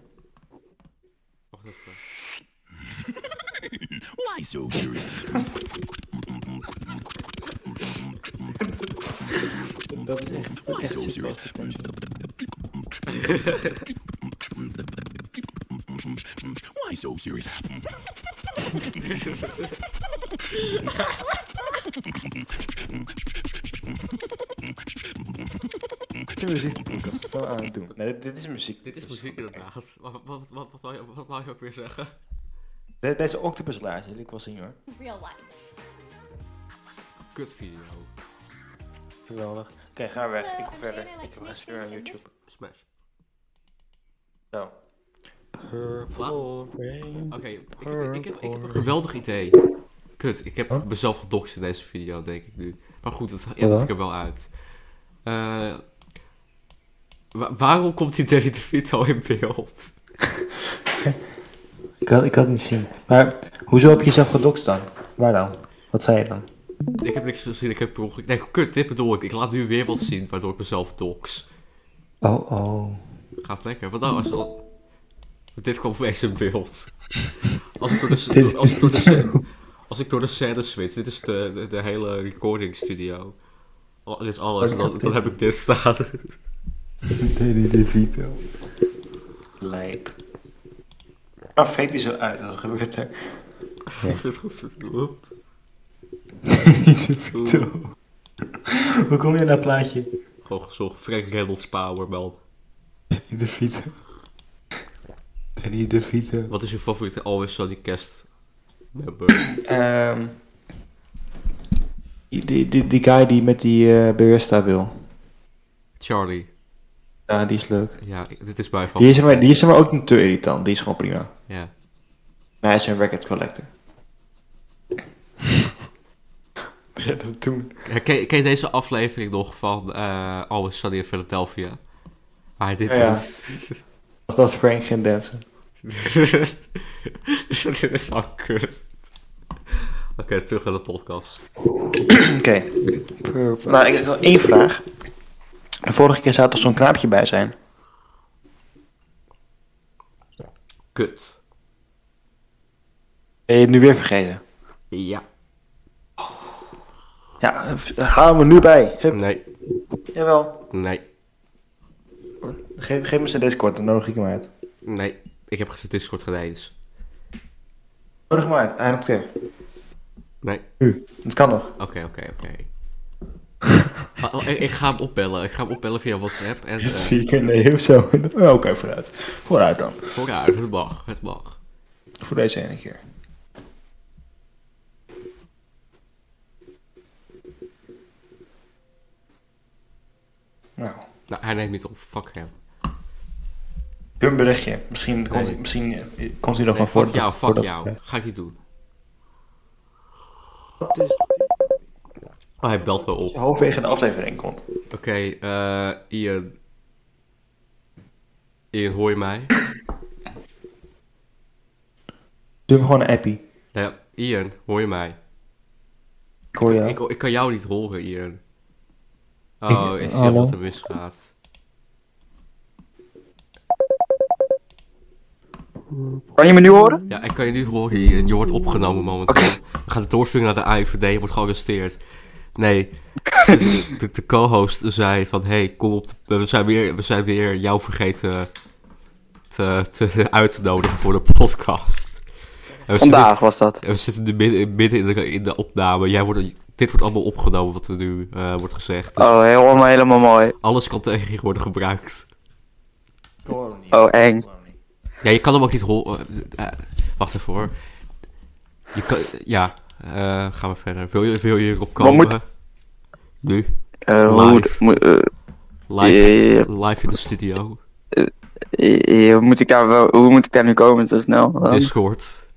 A: Wacht even.
E: Why so serious?
B: Dat is echt, dat
E: Why
B: is
E: so
B: echt
E: serious?
B: super podcast.
E: Why so serious?
B: Dit is muziek podcast. Gaan we aan het doen. Nee, dit, dit is muziek.
A: Dit is muziek inderdaad. Wat, wat, wat, wat, wou je- wat wou je ook weer zeggen?
B: De- Deze octopus laars wil ik wel zien hoor.
D: Real life.
A: Kut video.
B: Geweldig. Oké, ga weg. Ik wil verder. Ik ga weer naar YouTube.
A: Smash.
B: Zo.
A: Wat? Oké, ik, heb- ik, heb, ik heb een geweldig idee. Kut, ik heb mezelf gedoxt in deze video, denk ik nu. Maar goed, dat edit ik er wel uit. Eh, wa- waarom komt die Danny DeVito in beeld?
B: Ik kan, ik kan het niet zien. Maar hoezo heb je jezelf gedokst dan? Waar dan? Wat zei je dan?
A: Ik heb niks gezien, ik heb per ongeluk... Nee, kut, dit bedoel ik. Ik laat nu weer wat zien waardoor ik mezelf dox.
B: Oh oh.
A: Gaat lekker. Wat nou als al... Dit kwam opeens in beeld. Als ik door de, als ik door de, scène- als ik door de scène switch. Dit is de, de, de hele recording studio. Al- Dit is alles. Dan, dan heb ik dit staan.
B: Lijp. Maar fake die zo uit, dat gebeurt er.
A: Ik vind het goed. Oep.
B: Niet te vertellen. Hoe kom je aan dat plaatje?
F: Gewoon gezocht. Frank Reynolds Power, man.
B: Niet de fietsen. Danny de fietsen.
F: Wat is je favoriete Always Sunny cast member?
G: Ehm, die, die, die, die guy die met die eh barista wil.
F: Charlie.
G: Ja, die is leuk.
F: Ja, ik- dit is mijn
G: Die
F: favoriet.
G: is, maar, die is maar ook niet te irritant. Die is gewoon prima.
F: Ja.
G: Maar hij is een record collector.
B: Ja, dat doen.
F: Ken, ken je deze aflevering nog van eh Always Sunny in Philadelphia? Waar hij dit
G: Ja, ja.
F: doet.
G: Als dat Frank ging dansen.
F: Dit is al kut. Oké, terug naar de podcast.
B: Oké. Nou, ik heb nog één vraag. De vorige keer zou toch zo'n knaapje bij zijn?
F: Kut.
B: Ben je het nu weer vergeten?
F: Ja.
B: Ja, haal me nu bij. Hup.
F: Nee,
B: Jawel.
F: nee,
B: Geef, geef me zijn Discord, dan nodig ik hem uit.
F: nee. Ik heb geen Discord gedaan eens.
B: Nodig hem uit, eindelijk keer.
F: Nee.
B: Nu, het kan nog.
F: Oké, oké, oké. Maar, oh, ik, ik ga hem opbellen. Ik ga hem opbellen via WhatsApp. En eh,
B: Vier keer nee of zo. Oké, vooruit. Vooruit dan.
F: vooruit, het mag, het mag.
B: Voor deze ene keer. Nou,
F: Nou, hij neemt niet op. Fuck hem.
B: een berichtje. Misschien komt,
F: Nee.
B: misschien eh, komt hij nog
F: Nee,
B: wel voor.
F: fuck jou, fuck jou. Ga ik niet doen. Oh, hij belt me op.
B: Halverwege de aflevering komt.
F: Oké, eh, Ian. Ian, hoor je mij?
B: Doe hem gewoon een appie.
F: Nee, Ian, hoor je mij?
B: Ik hoor jou.
F: Ik, ik kan jou niet horen, Ian. Oh, ik, zie al
B: hallo?
F: wat er misgaat.
B: Kan je me nu horen?
F: Ja, ik kan je nu horen, Ian. Je wordt opgenomen momenteel. We gaan het doorsturen naar de AIVD, je wordt gearresteerd. Nee, de, de- de co-host zei van, hey, kom op, de- we, zijn weer, we zijn weer jou vergeten te, te uit te nodigen voor de podcast. En we zitten-
H: Vandaag was dat.
F: Ja, we zitten nu midden, midden in, de, in de opname. Jij wordt, dit wordt allemaal opgenomen wat er nu eh, wordt gezegd. Dus
H: Oh, helemaal, helemaal mooi.
F: alles kan tegen je worden gebruikt.
H: Oh, eng.
F: Ja, je kan hem ook niet horen. eh, eh, wacht even hoor. Je kan, ja, eh, gaan we verder. Wil je, wil je erop komen?
H: moet-
F: Nu,
H: Eh, hoe,
F: Live.
H: moet, eh,
F: live,
H: eh,
F: live in de studio.
H: eh, eh, moet ik daar wel, hoe moet ik daar nu komen zo snel? dan?
F: Discord.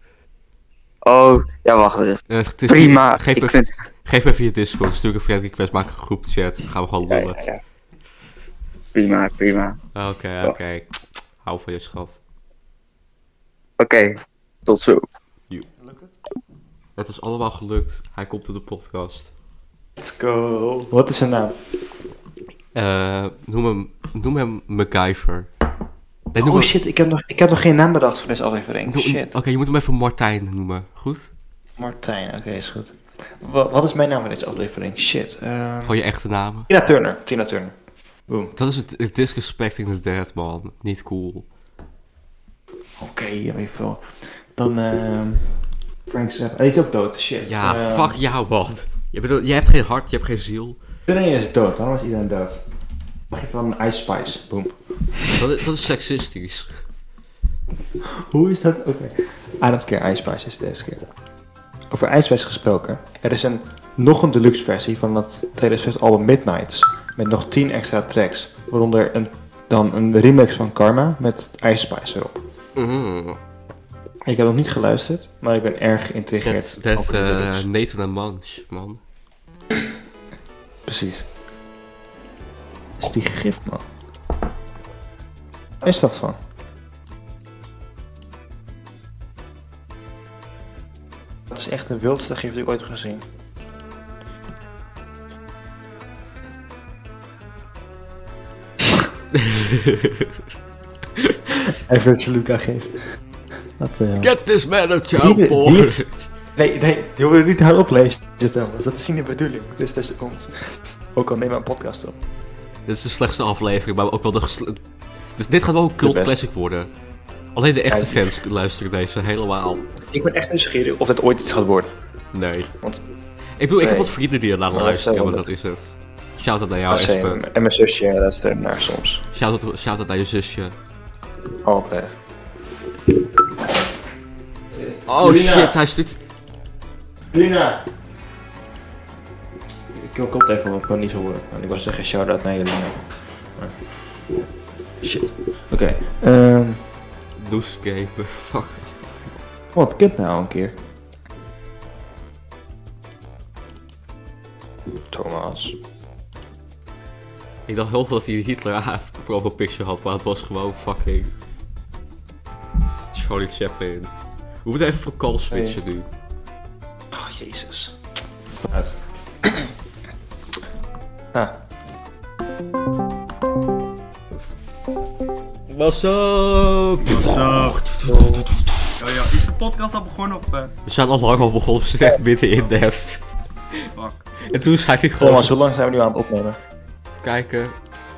H: Oh, ja, wacht even.
F: Eh, het is-
H: Prima.
F: Geef me,
H: ik vind...
F: geef me even je Discord. Stuur een friend request. Maak een groep chat. Dan gaan we gewoon
H: Ja,
F: lullen.
H: ja, ja. Prima, prima.
F: Oké, oké. Hou van je schat.
H: Oké, tot zo.
F: Het is allemaal gelukt. Hij komt in de podcast.
B: Let's go. Wat is zijn naam?
F: Eh, noem, hem, noem hem MacGyver. Nee, noem
B: Oh
F: hem-
B: shit, ik heb, nog, ik heb nog geen naam bedacht voor deze aflevering.
F: noem-
B: Shit.
F: Oké, je moet hem even Martijn noemen. Goed?
B: Martijn, oké, is goed. Wa- wat is mijn naam voor deze aflevering? Shit. eh,
F: Gewoon je echte namen.
B: Tina Turner. Tina Turner. Boom.
F: Dat is het, het disrespecting the dead, man. Niet cool.
B: Oké, weet ik veel. Dan ehm Frank Zappa. Hij is ook dood, shit.
F: Ja,
B: Ehm,
F: fuck jou, man. Je, bedoelt, je hebt geen hart, je hebt geen ziel.
B: Iedereen is dood, waarom is iedereen dood? Mag je van Ice Spice? Boom.
F: Dat is, dat is seksistisch.
B: Hoe is dat? Oké. Ah, dat keer Ice Spice is deze keer. Over Ice Spice gesproken. Er is een, nog een deluxe versie van dat Taylor Swift album Midnights. Met nog 10 extra tracks. Waaronder een, dan een remix van Karma met Ice Spice erop.
F: Mm.
B: Ik heb nog niet geluisterd, maar ik ben erg
F: Dat,
B: geïntrigeerd.
F: dat
B: over de
F: eh,
B: deluxe.
F: Nathan en Munch, man.
B: Precies. Dat is die gif, man. Waar is dat van? Dat is echt de wildste gif die ik ooit heb gezien. Average Luca gif. Wat eh, de hel.
F: Get this man a
B: Hier-
F: child, boy.
B: Nee, nee, je wil het niet hardop lezen, Thomas. Dat is niet de bedoeling. Het is tussen ons. Ook al neem maar een podcast op.
F: Dit is de slechtste aflevering, maar ook wel de gesle- Dus dit gaat wel een cult
B: beste.
F: classic worden. Alleen de echte
B: Ja,
F: fans luisteren deze helemaal.
B: Ik ben echt nieuwsgierig of dit ooit iets gaat worden.
F: Nee.
B: Want
F: Ik bedoel, ik heb
B: Nee.
F: wat vrienden die er naar
B: Maar dat is
F: luisteren,
B: wel
F: maar dat is het. Shout-out naar jou,
B: Ah,
F: Espen.
B: same. En mijn zusje luistert naar soms.
F: Shout-out shout-out naar je zusje.
B: Altijd.
F: Oh
I: Lina.
F: shit, hij stuurt...
I: Lina!
B: Ik wil kort even, want ik kan niet zo horen. Want ik was zeggen shout-out naar jullie. Maar... Shit. Oké. Ehm
F: Noescape, fuck.
B: wat kent nou een keer? Thomas.
F: Ik dacht heel veel dat hij een Hitler profile picture had, maar het was gewoon fucking... Charlie Chaplin. We moeten even voor call switchen nu.
B: Oh, jezus. Uit. ah,
F: What's up?
J: Yo, yo, is de podcast al begonnen op eh
F: We zijn al lang al begonnen, we zitten echt midden in dat.
J: fuck?
F: En toen zei hij gewoon
B: Thomas, hoe lang zijn we nu aan het opnemen?
F: kijken.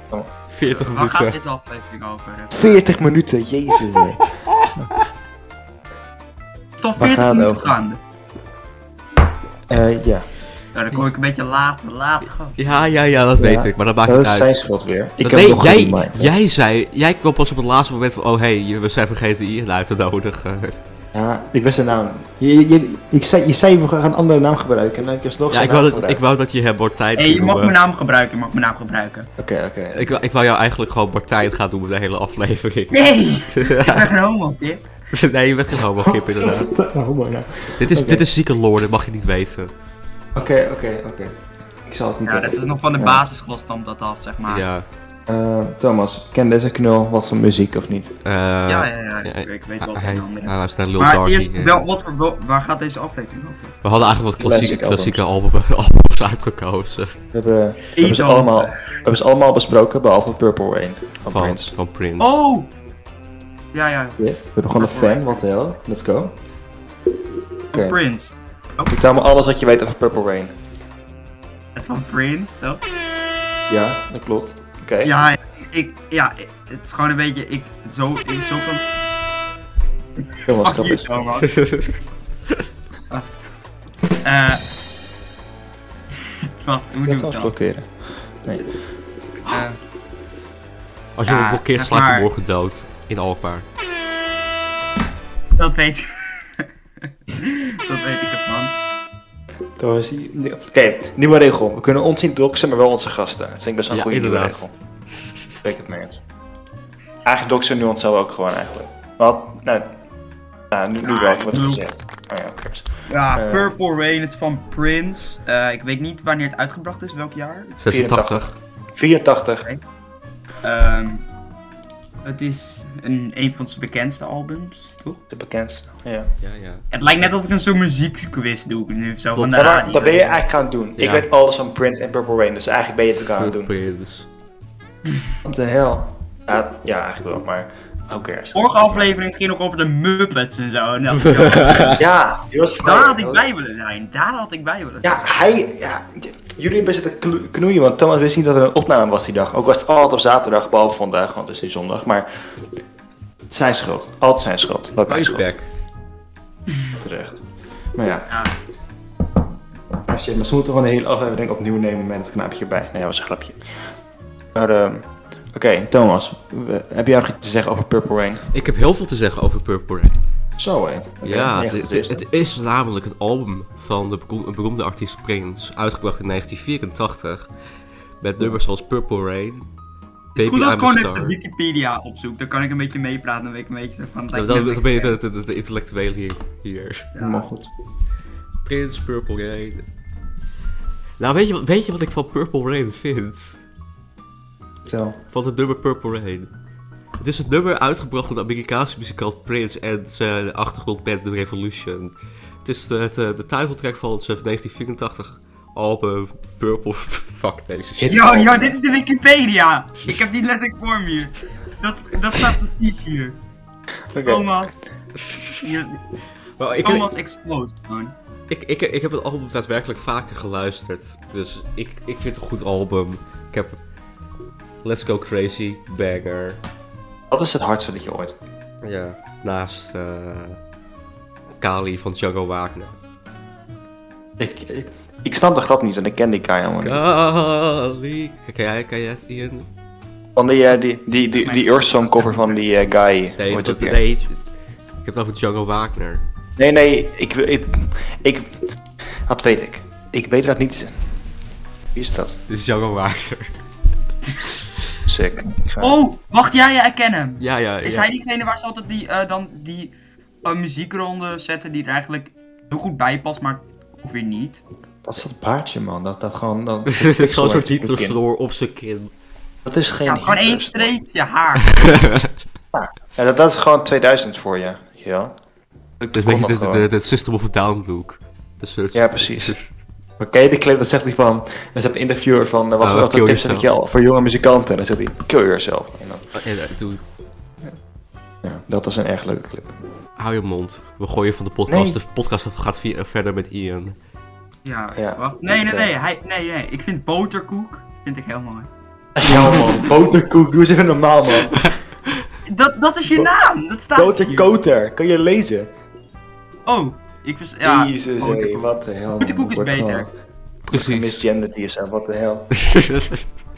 B: Oh.
F: 40
J: Waar gaat
F: minuten.
J: deze aflevering over? Eh,
B: 40 minuten, jezus. man.
J: Stof
B: Waar
J: 40
B: gaat het
J: minuten
B: over?
J: gaande.
B: Eh ja,
J: Nou, dan kom ik een beetje later, later gast.
F: Ja, ja, ja, dat weet
B: Ja.
F: ik, maar dat maakt
B: dat
F: niet
B: is zijn
F: uit.
B: schuld weer. Ik
F: Dat-
B: heb
F: nee,
B: nog geen
F: jij,
B: mic.
F: jij zei, jij kwam pas op het laatste moment van, oh hé, hey, we zijn vergeten hier uit te nodigen.
I: Ja, ik wist zijn naam. Je, je, ik zei, je zei, we gaan een andere naam gebruiken.
B: Nou,
I: En dan heb je alsnog
F: Ja,
I: zijn
F: ik wou,
I: naam
F: dat, ik
I: gebruikt.
F: wou dat je hem Martijn
J: Hé, je
F: ging
J: mag nou- mijn
F: noemen.
J: naam gebruiken, je mag mijn naam gebruiken.
B: Oké, oké.
F: Ik, wou- ik wou jou eigenlijk gewoon Martijn gaan noemen de hele aflevering.
J: Nee! ik ben geen homo, kid.
F: nee, je bent geen homogip inderdaad.
I: Oh, mooi nou.
F: Dit is,
I: Oké.
F: dit is zieke lore, dat mag je niet weten.
B: Oké, oké, oké. Ik zal het niet
J: Ja, dat is nog van de
B: Ja.
J: basisschool stamt dat af, zeg maar. Ja,
F: Ja.
B: Eh, Thomas, ken deze knul wat voor muziek of niet?
F: eh,
J: ja, ja, ik-
F: ja,
J: ik, weet wel
F: hij-
J: wat
F: Hij
J: een
F: hij
J: andere.
F: luistert naar Lil
J: Maar eerst,
F: Darky.
J: wel, wat voor, wel- waar gaat deze aflevering over?
F: We hadden eigenlijk wat klassieke,
B: Classic
F: klassieke album- albums uitgekozen.
B: We hebben, we hebben,
J: Eet
B: ze,
J: dan.
B: allemaal, we hebben ze allemaal besproken, behalve Purple Rain van,
F: Van
B: Prince.
F: Van Prince.
J: Oh! Ja, ja,
B: Ja, We hebben gewoon een
J: Purple
B: fan, wat de hel. Let's go. Oké,
J: Prince.
B: vertel me alles wat je weet over Purple Rain.
J: Het is van Prince, toch?
B: Ja, dat klopt. Oké.
J: Ja, ik, ja, ik- het is gewoon een beetje, ik, zo, ik, zo kan...
B: Thomas,
J: Fuck
B: kap
J: you,
B: eens.
J: Thomas. Wacht. Eh. Wacht, hoe
B: Ik ga
J: doe ik
B: het
J: dat?
B: blokkeren.
J: Eh,
F: Als je hem
J: Ja,
F: blokkeert,
J: zeg
F: slaat je
J: maar.
F: morgen dood. In Alkmaar.
J: dat weet ik. dat weet ik het, man.
B: Thomas, hier- nee. Oké, nieuwe regel. We kunnen ons niet doxen, maar wel onze gasten. Dat vind ik best wel een
F: Ja,
B: goede nieuwe
F: inderdaad.
B: regel. Ben ik het mee eens. Eigenlijk doxen nu onszelf ook gewoon eigenlijk. Wat? Nou, nou nu, nu wel. Ik heb het
J: doe-
B: gezegd. Oh ja, oké.
J: Ja,
B: Eh.
J: Purple Rain, het is van Prince. Eh, ik weet niet wanneer het uitgebracht is, welk jaar.
F: 86.
B: 84.
J: Ehm, het is een, een van zijn bekendste albums, toch?
B: De bekendste.
J: Nou,
B: Ja.
F: Ja, ja.
J: Het lijkt net alsof ik een zo'n muziekquiz doe. Nu, zo van de
B: Ja, maar
J: radio.
B: dat ben je eigenlijk aan het doen. Ik
F: Ja.
B: weet alles van Prince en Purple Rain, dus eigenlijk ben je het ook aan het
F: Fuck
B: doen.
F: Prince.
B: Wat de hel? Ja, ja, eigenlijk wel, maar... Who cares?
J: Vorige aflevering ging ook over de Muppets en zo. En dat-
B: Ja, die was
J: daar had
B: Dat
J: ik
B: was-
J: bij willen zijn. Daar had ik bij willen zijn.
B: Ja, hij... Ja, j- jullie hebben zitten kno- knoeien, want Thomas wist niet dat er een opname was die dag. Ook was het altijd op zaterdag, behalve vandaag, want het is nu zondag. Maar zijn schuld. Altijd zijn schuld. Dat mijn schuld.
F: Icepack.
B: Terecht. Maar ja.
J: Ja.
B: Maar shit, maar ze moeten gewoon de hele aflevering opnieuw nemen met het knaapje erbij. Nee, dat was een grapje. Maar, ehm, Oké, Thomas. we- heb jij nog iets te zeggen over Purple Rain?
F: Ik heb heel veel te zeggen over Purple Rain.
B: Zo, hè?
F: ja, het, het- het is namelijk een album van de beroemde, beroemde artiest Prince, uitgebracht in 1984. Met nummers zoals Purple Rain,
J: Het is
F: Baby
J: goed als ik
F: I'm a
J: gewoon
F: Star.
J: even Wikipedia opzoek. Dan kan ik een beetje meepraten. Dan weet ik een beetje van...
F: Ja,
J: dat
F: Dan,
J: ik
F: dan ben je
J: net-
F: de, de, de- de intellectuele hier. hier.
B: Maar goed.
F: Prince, Purple Rain. Nou, weet je, wat- weet je wat ik van Purple Rain vind?
B: Vertel.
F: Van het nummer Purple Rain. Het is een nummer uitgebracht door de Amerikaanse muzikant Prince en zijn achtergrondband The Revolution. Het is de, de, de titeltrack van zijn 1984 album Purple... Fuck deze shit.
J: Yo, yo, dit is de Wikipedia! Ik heb die letterlijk voor me hier. Dat, dat staat precies hier.
B: Oké.
J: Thomas... Hier,
F: Maar ik,
J: Thomas
F: ik,
J: Explode. gewoon.
F: ik, ik, ik heb het album daadwerkelijk vaker geluisterd. Dus ik, ik vind het een goed album. Ik heb Let's Go Crazy, Banger.
B: Wat is het hardste dat je ooit...
F: Ja. Naast eh, Kali van Django Wagner.
B: Ik, ik, Ik snap de grap niet en ik ken die guy helemaal niet.
F: Kali. Kan jij, kan jij het, Ian?
B: Van die, eh, die, die, die, die Earth Song cover van die eh, guy. Hoe
F: Nee,
B: heet
F: dat,
B: ook weer?
F: nee, ik heb het over Django Wagner.
B: nee, nee, ik, wil- ik, ik... Dat weet ik. Ik weet dat niet. Wie is dat?
F: Dit is Django Wagner.
B: Sick. Ga-
J: Oh, wacht, ja, ja, ik ken hem.
F: Ja, ja,
J: Is
F: ja.
J: hij diegene waar ze altijd die, eh, dan die eh, muziekronde zetten die er eigenlijk heel goed bij past, maar ook weer niet?
B: Wat is dat baardje, man? Dat, dat gewoon... Dat,
F: Dit is gewoon een soort
B: Sorry, ik-
F: Hitlervloer op zijn kin.
B: Dat is geen...
J: Ja, gewoon één
F: dus-
B: Hitler.
J: streepje haar.
B: Ja, dat, dat is gewoon 2000 voor je. Ja,
F: Dat is een
B: nog
F: beetje
B: wel.
F: de, de, de System of a Down look. De soort-
B: ja precies. Maar ken je die clip, dat zegt hij van... Dan zegt de interviewer van... eh, Wat,
F: Oh,
B: wat
F: kill
B: voor tips heb ik je
F: yourself.
B: al voor jonge muzikanten? En dan zegt hij... Kill yourself. En dan,
F: En, eh, toen,
B: ja, dat is een erg leuke clip.
F: hou je mond. We gooien van de podcast.
B: Nee.
F: De podcast gaat via- verder met Ian.
J: Ja,
B: Ja.
J: wacht. Nee, nee,
B: Oké.
J: nee, hij, nee, nee. Ik vind boterkoek vind ik heel mooi.
B: Ja man, boterkoek. Doe eens even normaal man.
J: Dat, dat is je
B: Bo-
J: naam, dat staat
B: Koter
J: hier.
B: Koter, kan je lezen?
J: Oh, ik vers... Ja,
B: Jezus, hé,
J: boterkoek.
B: wat de hel. man.
J: Boterkoek is
B: Wordt
J: beter.
B: gewoon
F: Precies.
B: Misgenderd hier zijn, wat de hel.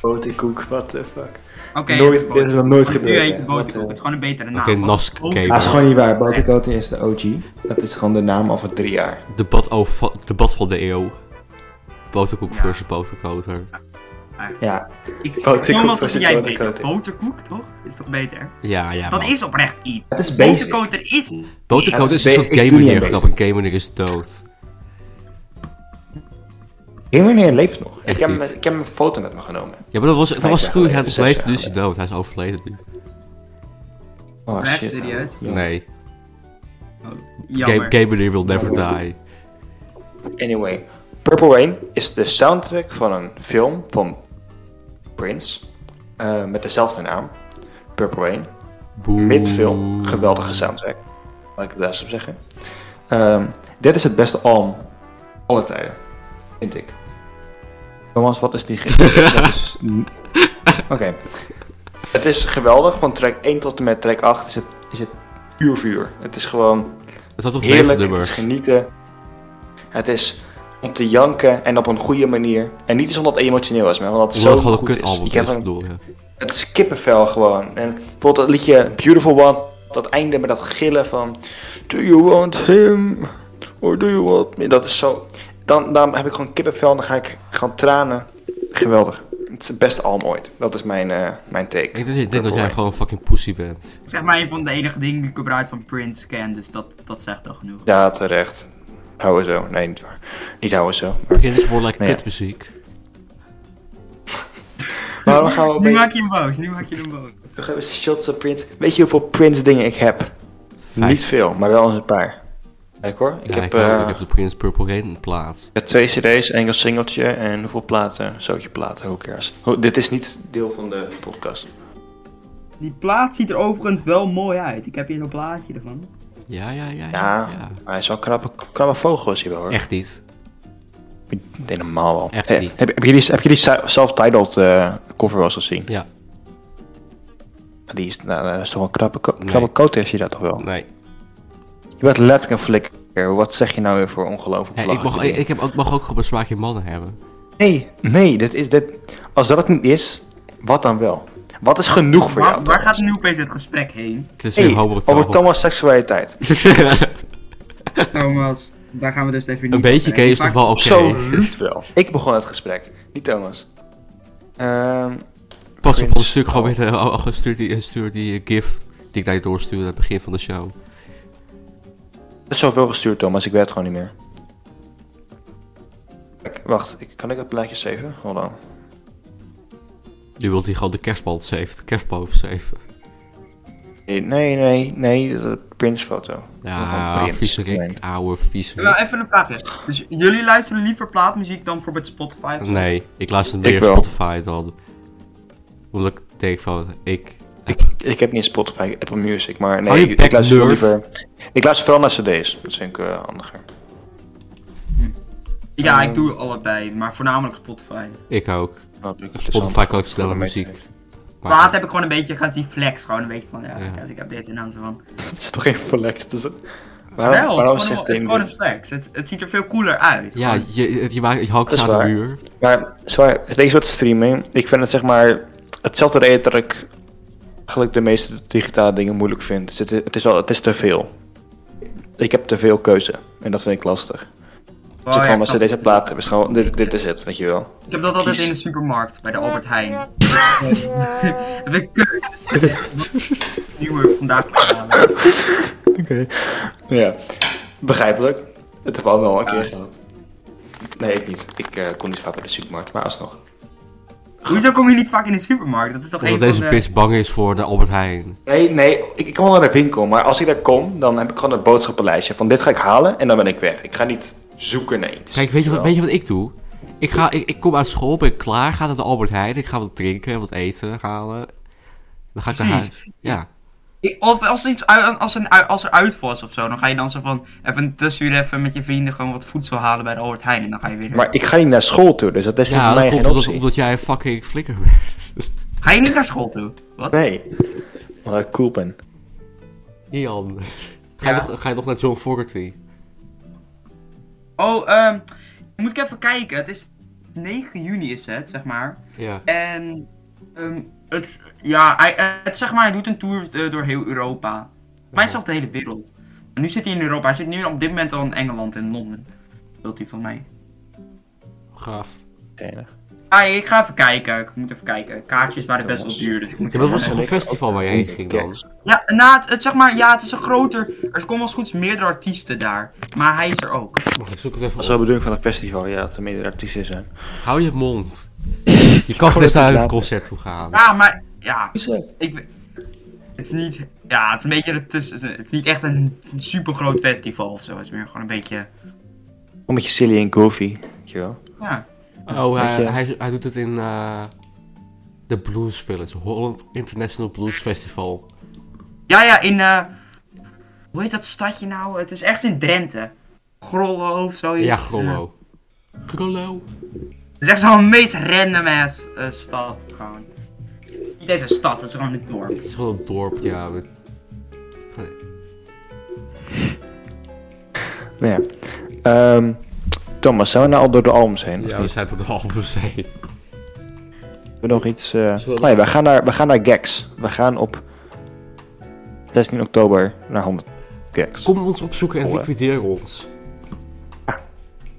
B: Boterkoek, what the fuck.
J: Oké,
B: nooit,
J: het is
B: dit is nog nooit
J: boterkoek. Nu
B: gebeurd.
J: heet
B: hè.
J: je
B: Wat
J: boterkoek,
B: de-
J: het is gewoon een betere naam.
F: Oké,
J: want-
F: Nask
J: oh,
F: Cable.
B: Ah, is gewoon niet waar. Boterkoter is de OG. Dat is gewoon de naam over drie jaar.
F: Debat, over, debat van de eeuw. Boterkoek
J: Ja.
F: versus boterkoter.
B: Ja,
J: ik-
B: Boterkoek
J: Thomas, wat
B: versus
J: vind jij
B: boterkoter.
J: beter? Boterkoek, toch? Is toch beter?
F: Ja, ja.
J: Dat
F: man. Oh,
J: is oprecht iets.
B: Het is basic.
J: Boterkoter is niet.
F: Boterkoter
B: Ja,
F: is
B: dat
F: een
B: is
F: soort
B: be- ik doe
F: gamer
B: niet aan
F: neergrap. Een gamer is dood.
B: Hemmeneer leeft nog. Ik
F: Echt
B: heb, hem-
F: niet.
B: ik heb een foto met me genomen.
F: Ja, maar dat was, dat
B: Vijf
F: was
B: jaar
F: toen hij
B: geleden,
F: nog
B: zes
F: leefde.
B: jaar
F: Nu is hij dood. Hij is overleden nu.
B: Oh
J: Echt
B: shit.
J: serieus? Oh,
B: Ja.
F: Nee.
J: Jammer.
F: Ga- Gamer neer will never die.
B: Anyway, Purple Rain is de soundtrack van een film van Prince. eh, met dezelfde naam. Purple Rain.
F: Boe.
B: Midfilm, geweldige soundtrack. Laat ik het daar eens op zeggen. Ehm, dit is het beste album alle tijden, vind ik. Thomas, wat is die gif? Dat is- Oké. Het is geweldig, van track 1 tot en met track 8 is het, is het puur vuur. Het is gewoon
F: Het had toch een
B: heerlijk, het is
F: nummer.
B: genieten. Het is om te janken en op een goede manier. En niet eens omdat het emotioneel is, maar omdat het
F: Omdat het
B: zo
F: gewoon een
B: goed is.
F: kut album
B: Je
F: is,
B: krijgt een
F: bedoel je.
B: het is kippenvel gewoon. En bijvoorbeeld dat liedje Beautiful One, dat einde met dat gillen van... Do you want him? Or do you want me? Dat is zo... Dan, dan heb ik gewoon kippenvel en dan ga ik gaan tranen. Geweldig. Het is het beste album ooit. Dat is mijn, eh, mijn take.
F: Ik denk, ik denk dat jij
B: Rain.
F: gewoon fucking pussy bent.
J: Zeg maar een van de enige dingen die ik überhaupt van Prince ken, dus dat, dat zegt al genoeg.
B: Ja, terecht. Houden zo. Nee, niet waar. Niet houden zo. Maar,
F: Dit is more like
B: Ja.
F: kutmuziek.
B: maar we gaan
J: Nu maak
B: opeens...
J: je hem boos, nu maak je hem boos.
B: We gaan eens shots op Prince. Weet je hoeveel Prince dingen ik heb?
F: Vijf.
B: Niet veel, maar wel een paar. Kijk hoor. Ik
F: Ja,
B: heb...
F: ik, ook.
B: eh,
F: ik heb de Prince Purple Rain plaat.
B: Ja, twee cd's, enkel singeltje en hoeveel platen? Zootje platen, who cares? Ho- dit is niet deel van de podcast.
J: Die plaat ziet er overigens wel mooi uit. Ik heb hier een plaatje ervan.
F: Ja, ja, ja.
B: Ja,
F: ja. ja.
B: maar hij is wel een knappe, knappe vogel is hij wel hoor.
F: Echt niet.
B: Ik denk normaal wel.
F: Echt
B: Hey,
F: niet.
B: Heb, heb je die, heb je die si- self-titled eh, cover wel eens gezien?
F: Ja.
B: Die is, nou, dat is toch wel een knappe, ko-
F: Nee.
B: knappe kote is hij dat toch wel?
F: Nee.
B: Je bent letterlijk een flikker. Wat zeg je nou weer voor ongelooflijk
F: Hey, ik, mag,
B: belachelijke
F: ik, ik heb ook, mag ook gewoon een smaakje mannen hebben.
B: dingen? Nee, nee, dit is, dit, als dat het niet is, wat dan wel? Wat is genoeg voor
J: Waar,
B: jou?
J: waar gaat
B: Thomas?
J: nu opeens het gesprek heen?
F: Het is
B: Hey,
F: weer homo
B: over Thomas' seksualiteit.
J: Thomas, daar gaan we dus even niet
F: Een beetje
J: over
F: gay is
J: hebben.
F: toch wel oké.
B: Absoluut wel. Ik begon het gesprek, niet Thomas. Ehm,
F: Pas op
B: Prince.
F: ons stuk gewoon weer eh, oh, oh, stuur die, eh, stuur die eh, gif die ik naar je doorstuurde aan het begin van de show.
B: er is zoveel gestuurd, Thomas, ik weet het gewoon niet meer. Kijk, wacht, ik, kan ik dat plaatje saven? Hold on.
F: Nu wilt hij gewoon de kerstbal safe, de kerstboom safe.
B: Nee, nee, nee, nee, dat Prins foto.
F: Ja, vieze Rick, ouwe vieze
J: Wel,
F: Rick.
J: even een vraag. hè. Dus j- jullie luisteren liever plaatmuziek dan bijvoorbeeld Spotify?
F: Nee, ik luister
B: Ik
F: meer
B: wel.
F: Spotify dan. Omdat ik denk van, ik...
B: Ik, ik heb niet Spotify, Apple Music, maar
F: Hou
B: nee,
F: je
B: ik,
F: bek,
B: ik luister veel
F: nerd.
B: liever. Ik luister vooral naar CD's, dat vind ik eh, handiger.
J: Ja, ik doe allebei, maar voornamelijk Spotify.
F: Ik ook.
B: Dat heb ik
F: Spotify kan ik
B: interessant.
F: sneller muziek.
J: Plaat
F: maken.
J: heb ik gewoon een beetje gaan zien flex. Gewoon een beetje van, ja,
F: Ja.
J: als ik heb dit en dan zo van.
B: Het is toch geen verlekt, het is een- dus- Waarom,
J: wel,
B: waarom
J: het is gewoon
B: zegt
J: een- het is gewoon
B: Timber?
J: een flex. Het, het ziet er veel cooler uit.
F: Ja, je, het- je, maakt, je hakt
B: Dat
F: ze
B: is
F: aan de
B: waar.
F: muur.
B: Maar zwaar, weet je wat streamen? Ik vind het zeg maar hetzelfde reden dat ik eigenlijk de meeste digitale dingen moeilijk vind. Dus het, is- het, is, al, het is te veel. Ik heb te veel keuze en dat vind ik lastig. Dus
J: Oh,
B: Zo
J: ja,
B: van,
J: ik
B: als ze
J: snap
B: deze
J: het.
B: plaat hebben, is gewoon, dit, dit is het, weet je wel.
J: Ik heb dat altijd
B: Kies.
J: in de supermarkt, bij de Albert Heijn. Heb ik keuzes. Nieuwe vandaag mee halen.
B: Oké. Ja, begrijpelijk. Dat hebben we allemaal een keer gehad. Nee, ik niet. Ik eh, kon niet vaak bij de supermarkt, maar alsnog.
J: Hoezo kom je niet vaak in de supermarkt? Dat is toch
F: Omdat
J: één
F: deze
J: van de...
F: bitch bang is voor de Albert Heijn.
B: Nee, nee, ik, ik kan wel naar de winkel, maar als ik daar kom, dan heb ik gewoon een boodschappenlijstje van dit ga ik halen en dan ben ik weg. Ik ga niet zoeken naar iets.
F: Kijk, weet je wat,
B: Wel.
F: weet je wat ik doe? Ik, ga, ik, ik kom uit school, ben ik klaar, ga naar de Albert Heijn. Ik ga wat drinken en wat eten halen. Dan ga ik naar
J: Precies.
F: huis. Ja.
J: Ik- Of als, er iets, ui- als, een, ui- als er uit was of zo, dan ga je dan zo van... Even tussenuur even met je vrienden gewoon wat voedsel halen bij de Albert Heijn. En dan ga je weer...
B: Maar ik ga niet naar school toe, dus dat is
F: Ja,
B: voor mij
F: dat komt
B: geen
F: omdat,
B: optie.
F: omdat jij een fucking flikker bent.
J: Ga je niet naar school toe? Wat?
B: Nee, omdat ik cool ben.
F: Ian. Ga, je
J: Ja.
F: nog, ga je nog naar John Fogerty?
J: Oh, ehm... Moet ik even kijken. Het is 9 juni is het, zeg maar.
F: Ja.
J: En... ehm, het, ja, hij, het, zeg maar, hij doet een tour eh, door heel Europa.
B: Oh.
J: Mij zelfs de hele wereld. En nu zit hij in Europa. Hij zit nu op dit moment al in Engeland, in Londen. Wilt hij van mij?
F: Gaaf.
B: Enig.
J: Ah, ik ga even kijken. Ik moet even kijken. Kaartjes waren best wel duur, dus ik moet
F: Ja, dat
J: even
F: was toch een festival waar je heen ging dan?
J: Ja, na het, het, zeg maar, ja, het is een groter... Er komen als het goed is meerdere artiesten daar. Maar hij is er ook.
F: Mag ik zoek het even
B: Dat is wel
F: op?
B: de bedoeling van een festival, ja, dat er meerdere artiesten zijn.
F: Hou je mond. Je kan
B: Gewoon
F: gerust naar
B: even
F: een
B: laten.
F: concert toe gaan.
J: Ja, maar... Ja,
B: Zo.
J: ik... weet- Het is niet... Ja, het is een beetje... Het is, het is niet echt een super groot festival of zo. Het is meer gewoon een beetje...
B: Een beetje silly en goofy, weet je wel.
J: Ja.
F: Oh,
B: Weet
F: hij,
B: je-
F: hij, hij doet het in eh, de Blues Village, Holland International Blues Festival.
J: Ja, ja, in... eh, hoe heet dat stadje nou? Het is echt in Drenthe. Grollo of zoiets.
F: Ja, Grollo. Grollo.
J: Het is echt zo'n meest random ass eh, stad. Gewoon. Niet eens een stad, het is gewoon een dorp.
F: Het is gewoon een dorp, ja. Met...
B: Maar ja. Ehm, Thomas, zijn we nou al door de albums heen? of
F: Ja, we
B: niet?
F: zijn tot de halve zee.
B: Hebben we nog iets... eh,
F: Zullen we-
B: Nee, we gaan, naar, we gaan naar Gags. We gaan op 16 oktober naar 100 Gags.
F: Kom ons opzoeken en
B: Oh, hè.
F: liquideer ons.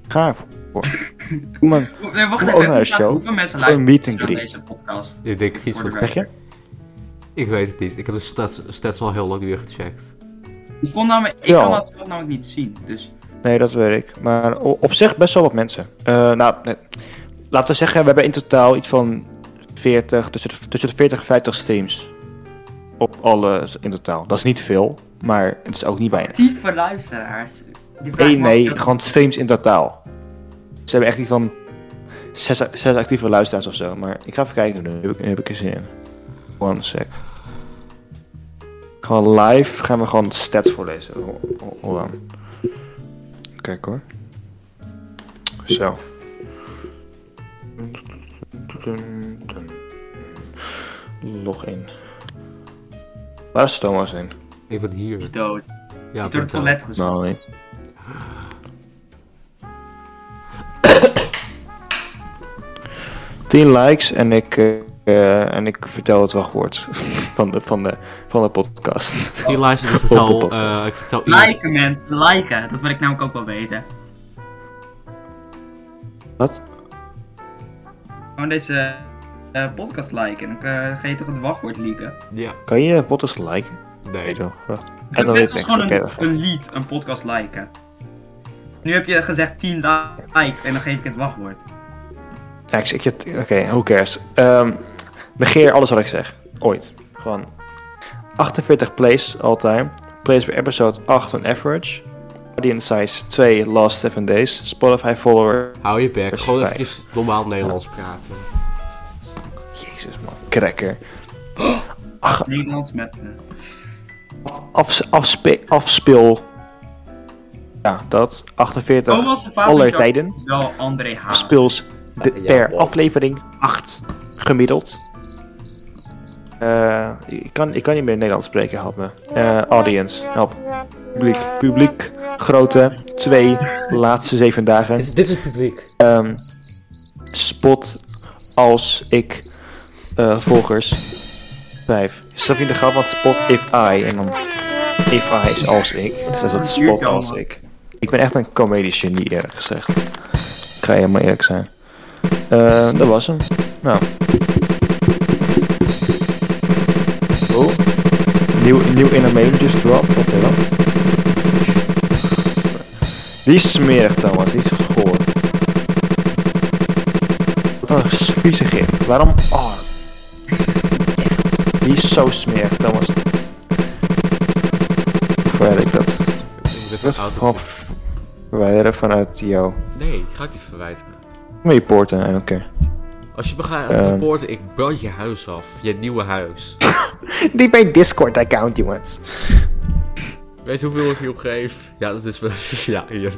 B: Ga ervoor. Doe maar- Kom
J: Hoe- Nee, wacht even.
B: ook naar de
J: hoe-
B: Oh, nou, show.
J: Hoeveel mensen
B: Gewoon
J: luisteren
B: meet and
J: aan
B: greet.
J: deze podcast?
F: Ik denk, vies
J: Voor
F: wat
J: de
B: Zeg je?
F: Ik weet het niet. Ik heb de stats, stats al heel lang niet meer gecheckt.
J: Ik, kon namelijk, ik
B: Ja.
J: kan dat zelf namelijk niet zien. Dus
B: Nee, dat weet ik. Maar o- op zich best wel wat mensen. Eh, nou, nee. laten we zeggen, we hebben in totaal iets van 40, tussen de, tussen de 40 en 50 streams. Op alle in totaal. Dat is niet veel, maar het is ook niet weinig.
J: actieve luisteraars. Die vraag
B: Nee,
J: mag ik
B: nee,
J: ook-
B: gewoon streams in totaal. Ze hebben echt iets van zes, zes actieve luisteraars of zo. Maar ik ga even kijken nu. Nu heb ik, nu heb ik er zin in. One sec. Gewoon live gaan we gewoon de stats voorlezen. Ho- ho- Hold on. Kijk hoor. Zo. Log in. Waar is Thomas in?
F: Ik ben hier.
J: is dood. Die
F: Ja, ik
J: door
F: ben
J: het
F: dood.
J: toilet gezet.
B: Nou, niet. Tien likes en ik, eh, eh, en ik vertel het wachtwoord van de, van de, van de podcast.
F: Die luister, ik
B: Op de
F: vertel,
B: podcast.
F: eh, ik vertel iedereen.
J: Liken mensen, liken. Dat wil ik namelijk ook wel weten.
B: Wat?
J: Gewoon deze eh, podcast liken. Dan eh, ga je toch het wachtwoord leaken.
F: Ja,
B: Kan je de podcast liken?
F: nee.
B: Nee, toch? Wacht. En
J: Het
B: dan
J: net
B: dit
J: als
B: niks. Oké,
J: gewoon een,
B: we gaan.
J: een lied, een podcast liken. Nu heb je gezegd 10 likes en dan geef ik het wachtwoord.
B: Ja, ik, ik, het- Oké, who cares. Ehm, negeer alles wat ik zeg. Ooit. Gewoon. 48 plays all time. Plays per episode 8 on average. Audience size 2 last 7 days. Spotify follower
F: Hou je bek.
B: Dat is
F: Gewoon
B: vijf.
F: even normaal Nederlands praten.
B: Jezus man, cracker.
J: Nederlands met me.
B: Af, afspe, afspeel. Ja, dat. 48
J: Thomas' favoriete
B: aller
J: artiest
B: tijden.
J: is wel André Haas.
B: Afspeels de-
F: Ja,
B: per
F: wow.
B: aflevering 8 gemiddeld. Eh, ik, kan, ik kan niet meer Nederlands spreken, help me. Eh, audience, help. publiek. Publiek, grote, twee, laatste zeven dagen.
E: Dit is, dit is het publiek.
B: Ehm, spot als ik eh, volgers 5. Snap je de grap? Want spot if I. En dan if I is als ik. Dus dat is spot als ik. Ik ben echt een comedisch genie eerlijk gezegd. Ik ga helemaal eerlijk zijn. Eh, dat was hem. Nou. Oh. Nieuw, nieuw in mail just dropped. Wat is dat? Die is smerig Thomas, die is goor. Wat een vieze gif. Waarom? Oh. Echt. Die is zo smerig, Thomas. Verwijder ik dat.
F: Ik
B: Dat gewoon verwijderen vanuit jou.
F: Nee, ik ga het niet verwijten.
B: Met je poorten, en oké.
F: Als je me gaat uh,
B: Ehm.
F: rapporten, ik brand je huis af. Je nieuwe huis.
B: Die bij Discord-account, jongens.
F: Weet je hoeveel ik hierop geef? Ja, dat is wel... ja, hier.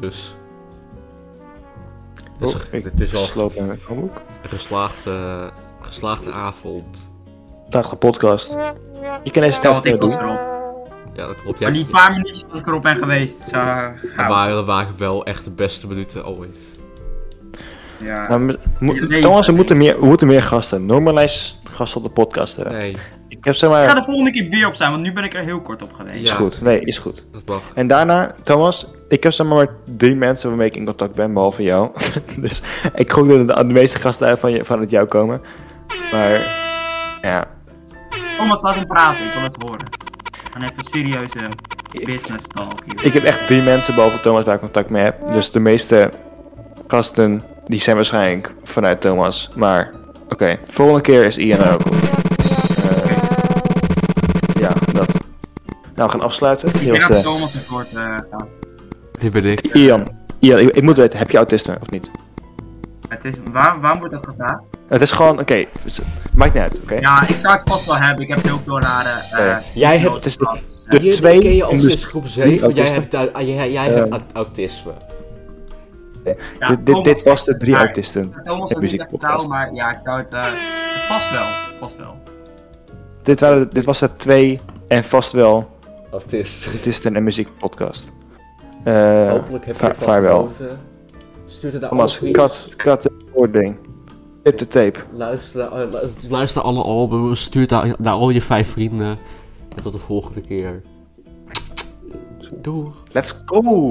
F: Dus... Het is,
B: Oh, ik
F: het is wel
B: sloop in mijn boek.
F: een geslaagde, geslaagde avond.
B: Dag de podcast. Je kan deze
J: Stel
B: tijd
J: wat ik
B: kunnen
J: was
B: doen.
J: erop.
F: Ja, dat klopt.
J: Maar
F: Jij,
J: die paar minuutjes dat ik erop ben geweest, zo
F: dat
J: gaan
F: waren, dat waren wel echt de beste minuten ooit.
J: Ja.
B: Maar Nou, we- mo-
J: Je leven.
B: Thomas, we moeten meer, we moeten meer gasten. Normalize gasten op de podcast hebben.
F: Nee,
B: Ik heb zeg
J: Ik
B: maar...
J: ga de volgende keer weer op staan, want nu ben ik er heel kort op geweest.
B: Is
F: Ja.
B: goed. Nee, is goed.
F: dat mag.
B: En daarna, Thomas, ik heb zeg maar, maar drie mensen waarmee ik in contact ben, behalve jou. dus ik gok dat de, de meeste gasten uit van, je, van het jou komen. Maar, ja.
J: Thomas, laat hem praten, ik wil het horen. Gaan even serieuze business talk hier.
B: Ik heb echt drie mensen behalve Thomas waar ik contact mee heb. Dus de meeste gasten, die zijn waarschijnlijk vanuit Thomas. Maar, oké. Volgende keer is Ian er ook op. Eh, ja, dat. Nou, we gaan afsluiten.
J: Ik
B: Hier
J: denk
B: was,
J: dat
B: eh,
J: Thomas het woord eh, gaat.
F: Dit ben ik.
B: Ian. Ian, ik, ik moet weten, heb je autisme of niet?
J: Het is, waar, waarom wordt dat gevraagd?
B: Het is gewoon, oké, dus- maakt niet uit, oké?
J: Ja, ik zou het vast wel hebben, ik heb heel veel rare...
B: Ja.
J: eh
E: Jij hebt-
B: Het is
J: gehad.
B: de, de
E: Hier
B: twee dus
E: ken je al
B: in
E: sinds
B: de,
E: groep 7. Jij
B: autisme.
E: hebt, au- ah, jij, jij
B: Eh.
E: hebt au- autisme.
J: Ja,
B: dit, dit, dit
J: Thomas-
B: was de drie
J: maar-
B: autisten.
J: Thomas
B: de
J: had niet echt
B: muziekpodcast.
J: vertrouwen, maar ja, ik zou het... eh, vast wel, vast wel.
B: Dit, waren, dit was de twee en vast wel
F: Autist.
B: autisten en muziekpodcast. Eh
E: Hopelijk heb je
B: va-
E: ervan
B: vaarwel.
E: genoten. Stuur het naar alle
F: Oh,
B: Thomas,
E: vrienden.
B: kat, kat, voording. Tip de tape.
F: Luister,
E: oh,
F: eh, lu- luister alle albums. Stuur het naar, naar al je vijf vrienden. En tot de volgende keer. Doeg.
B: Let's go!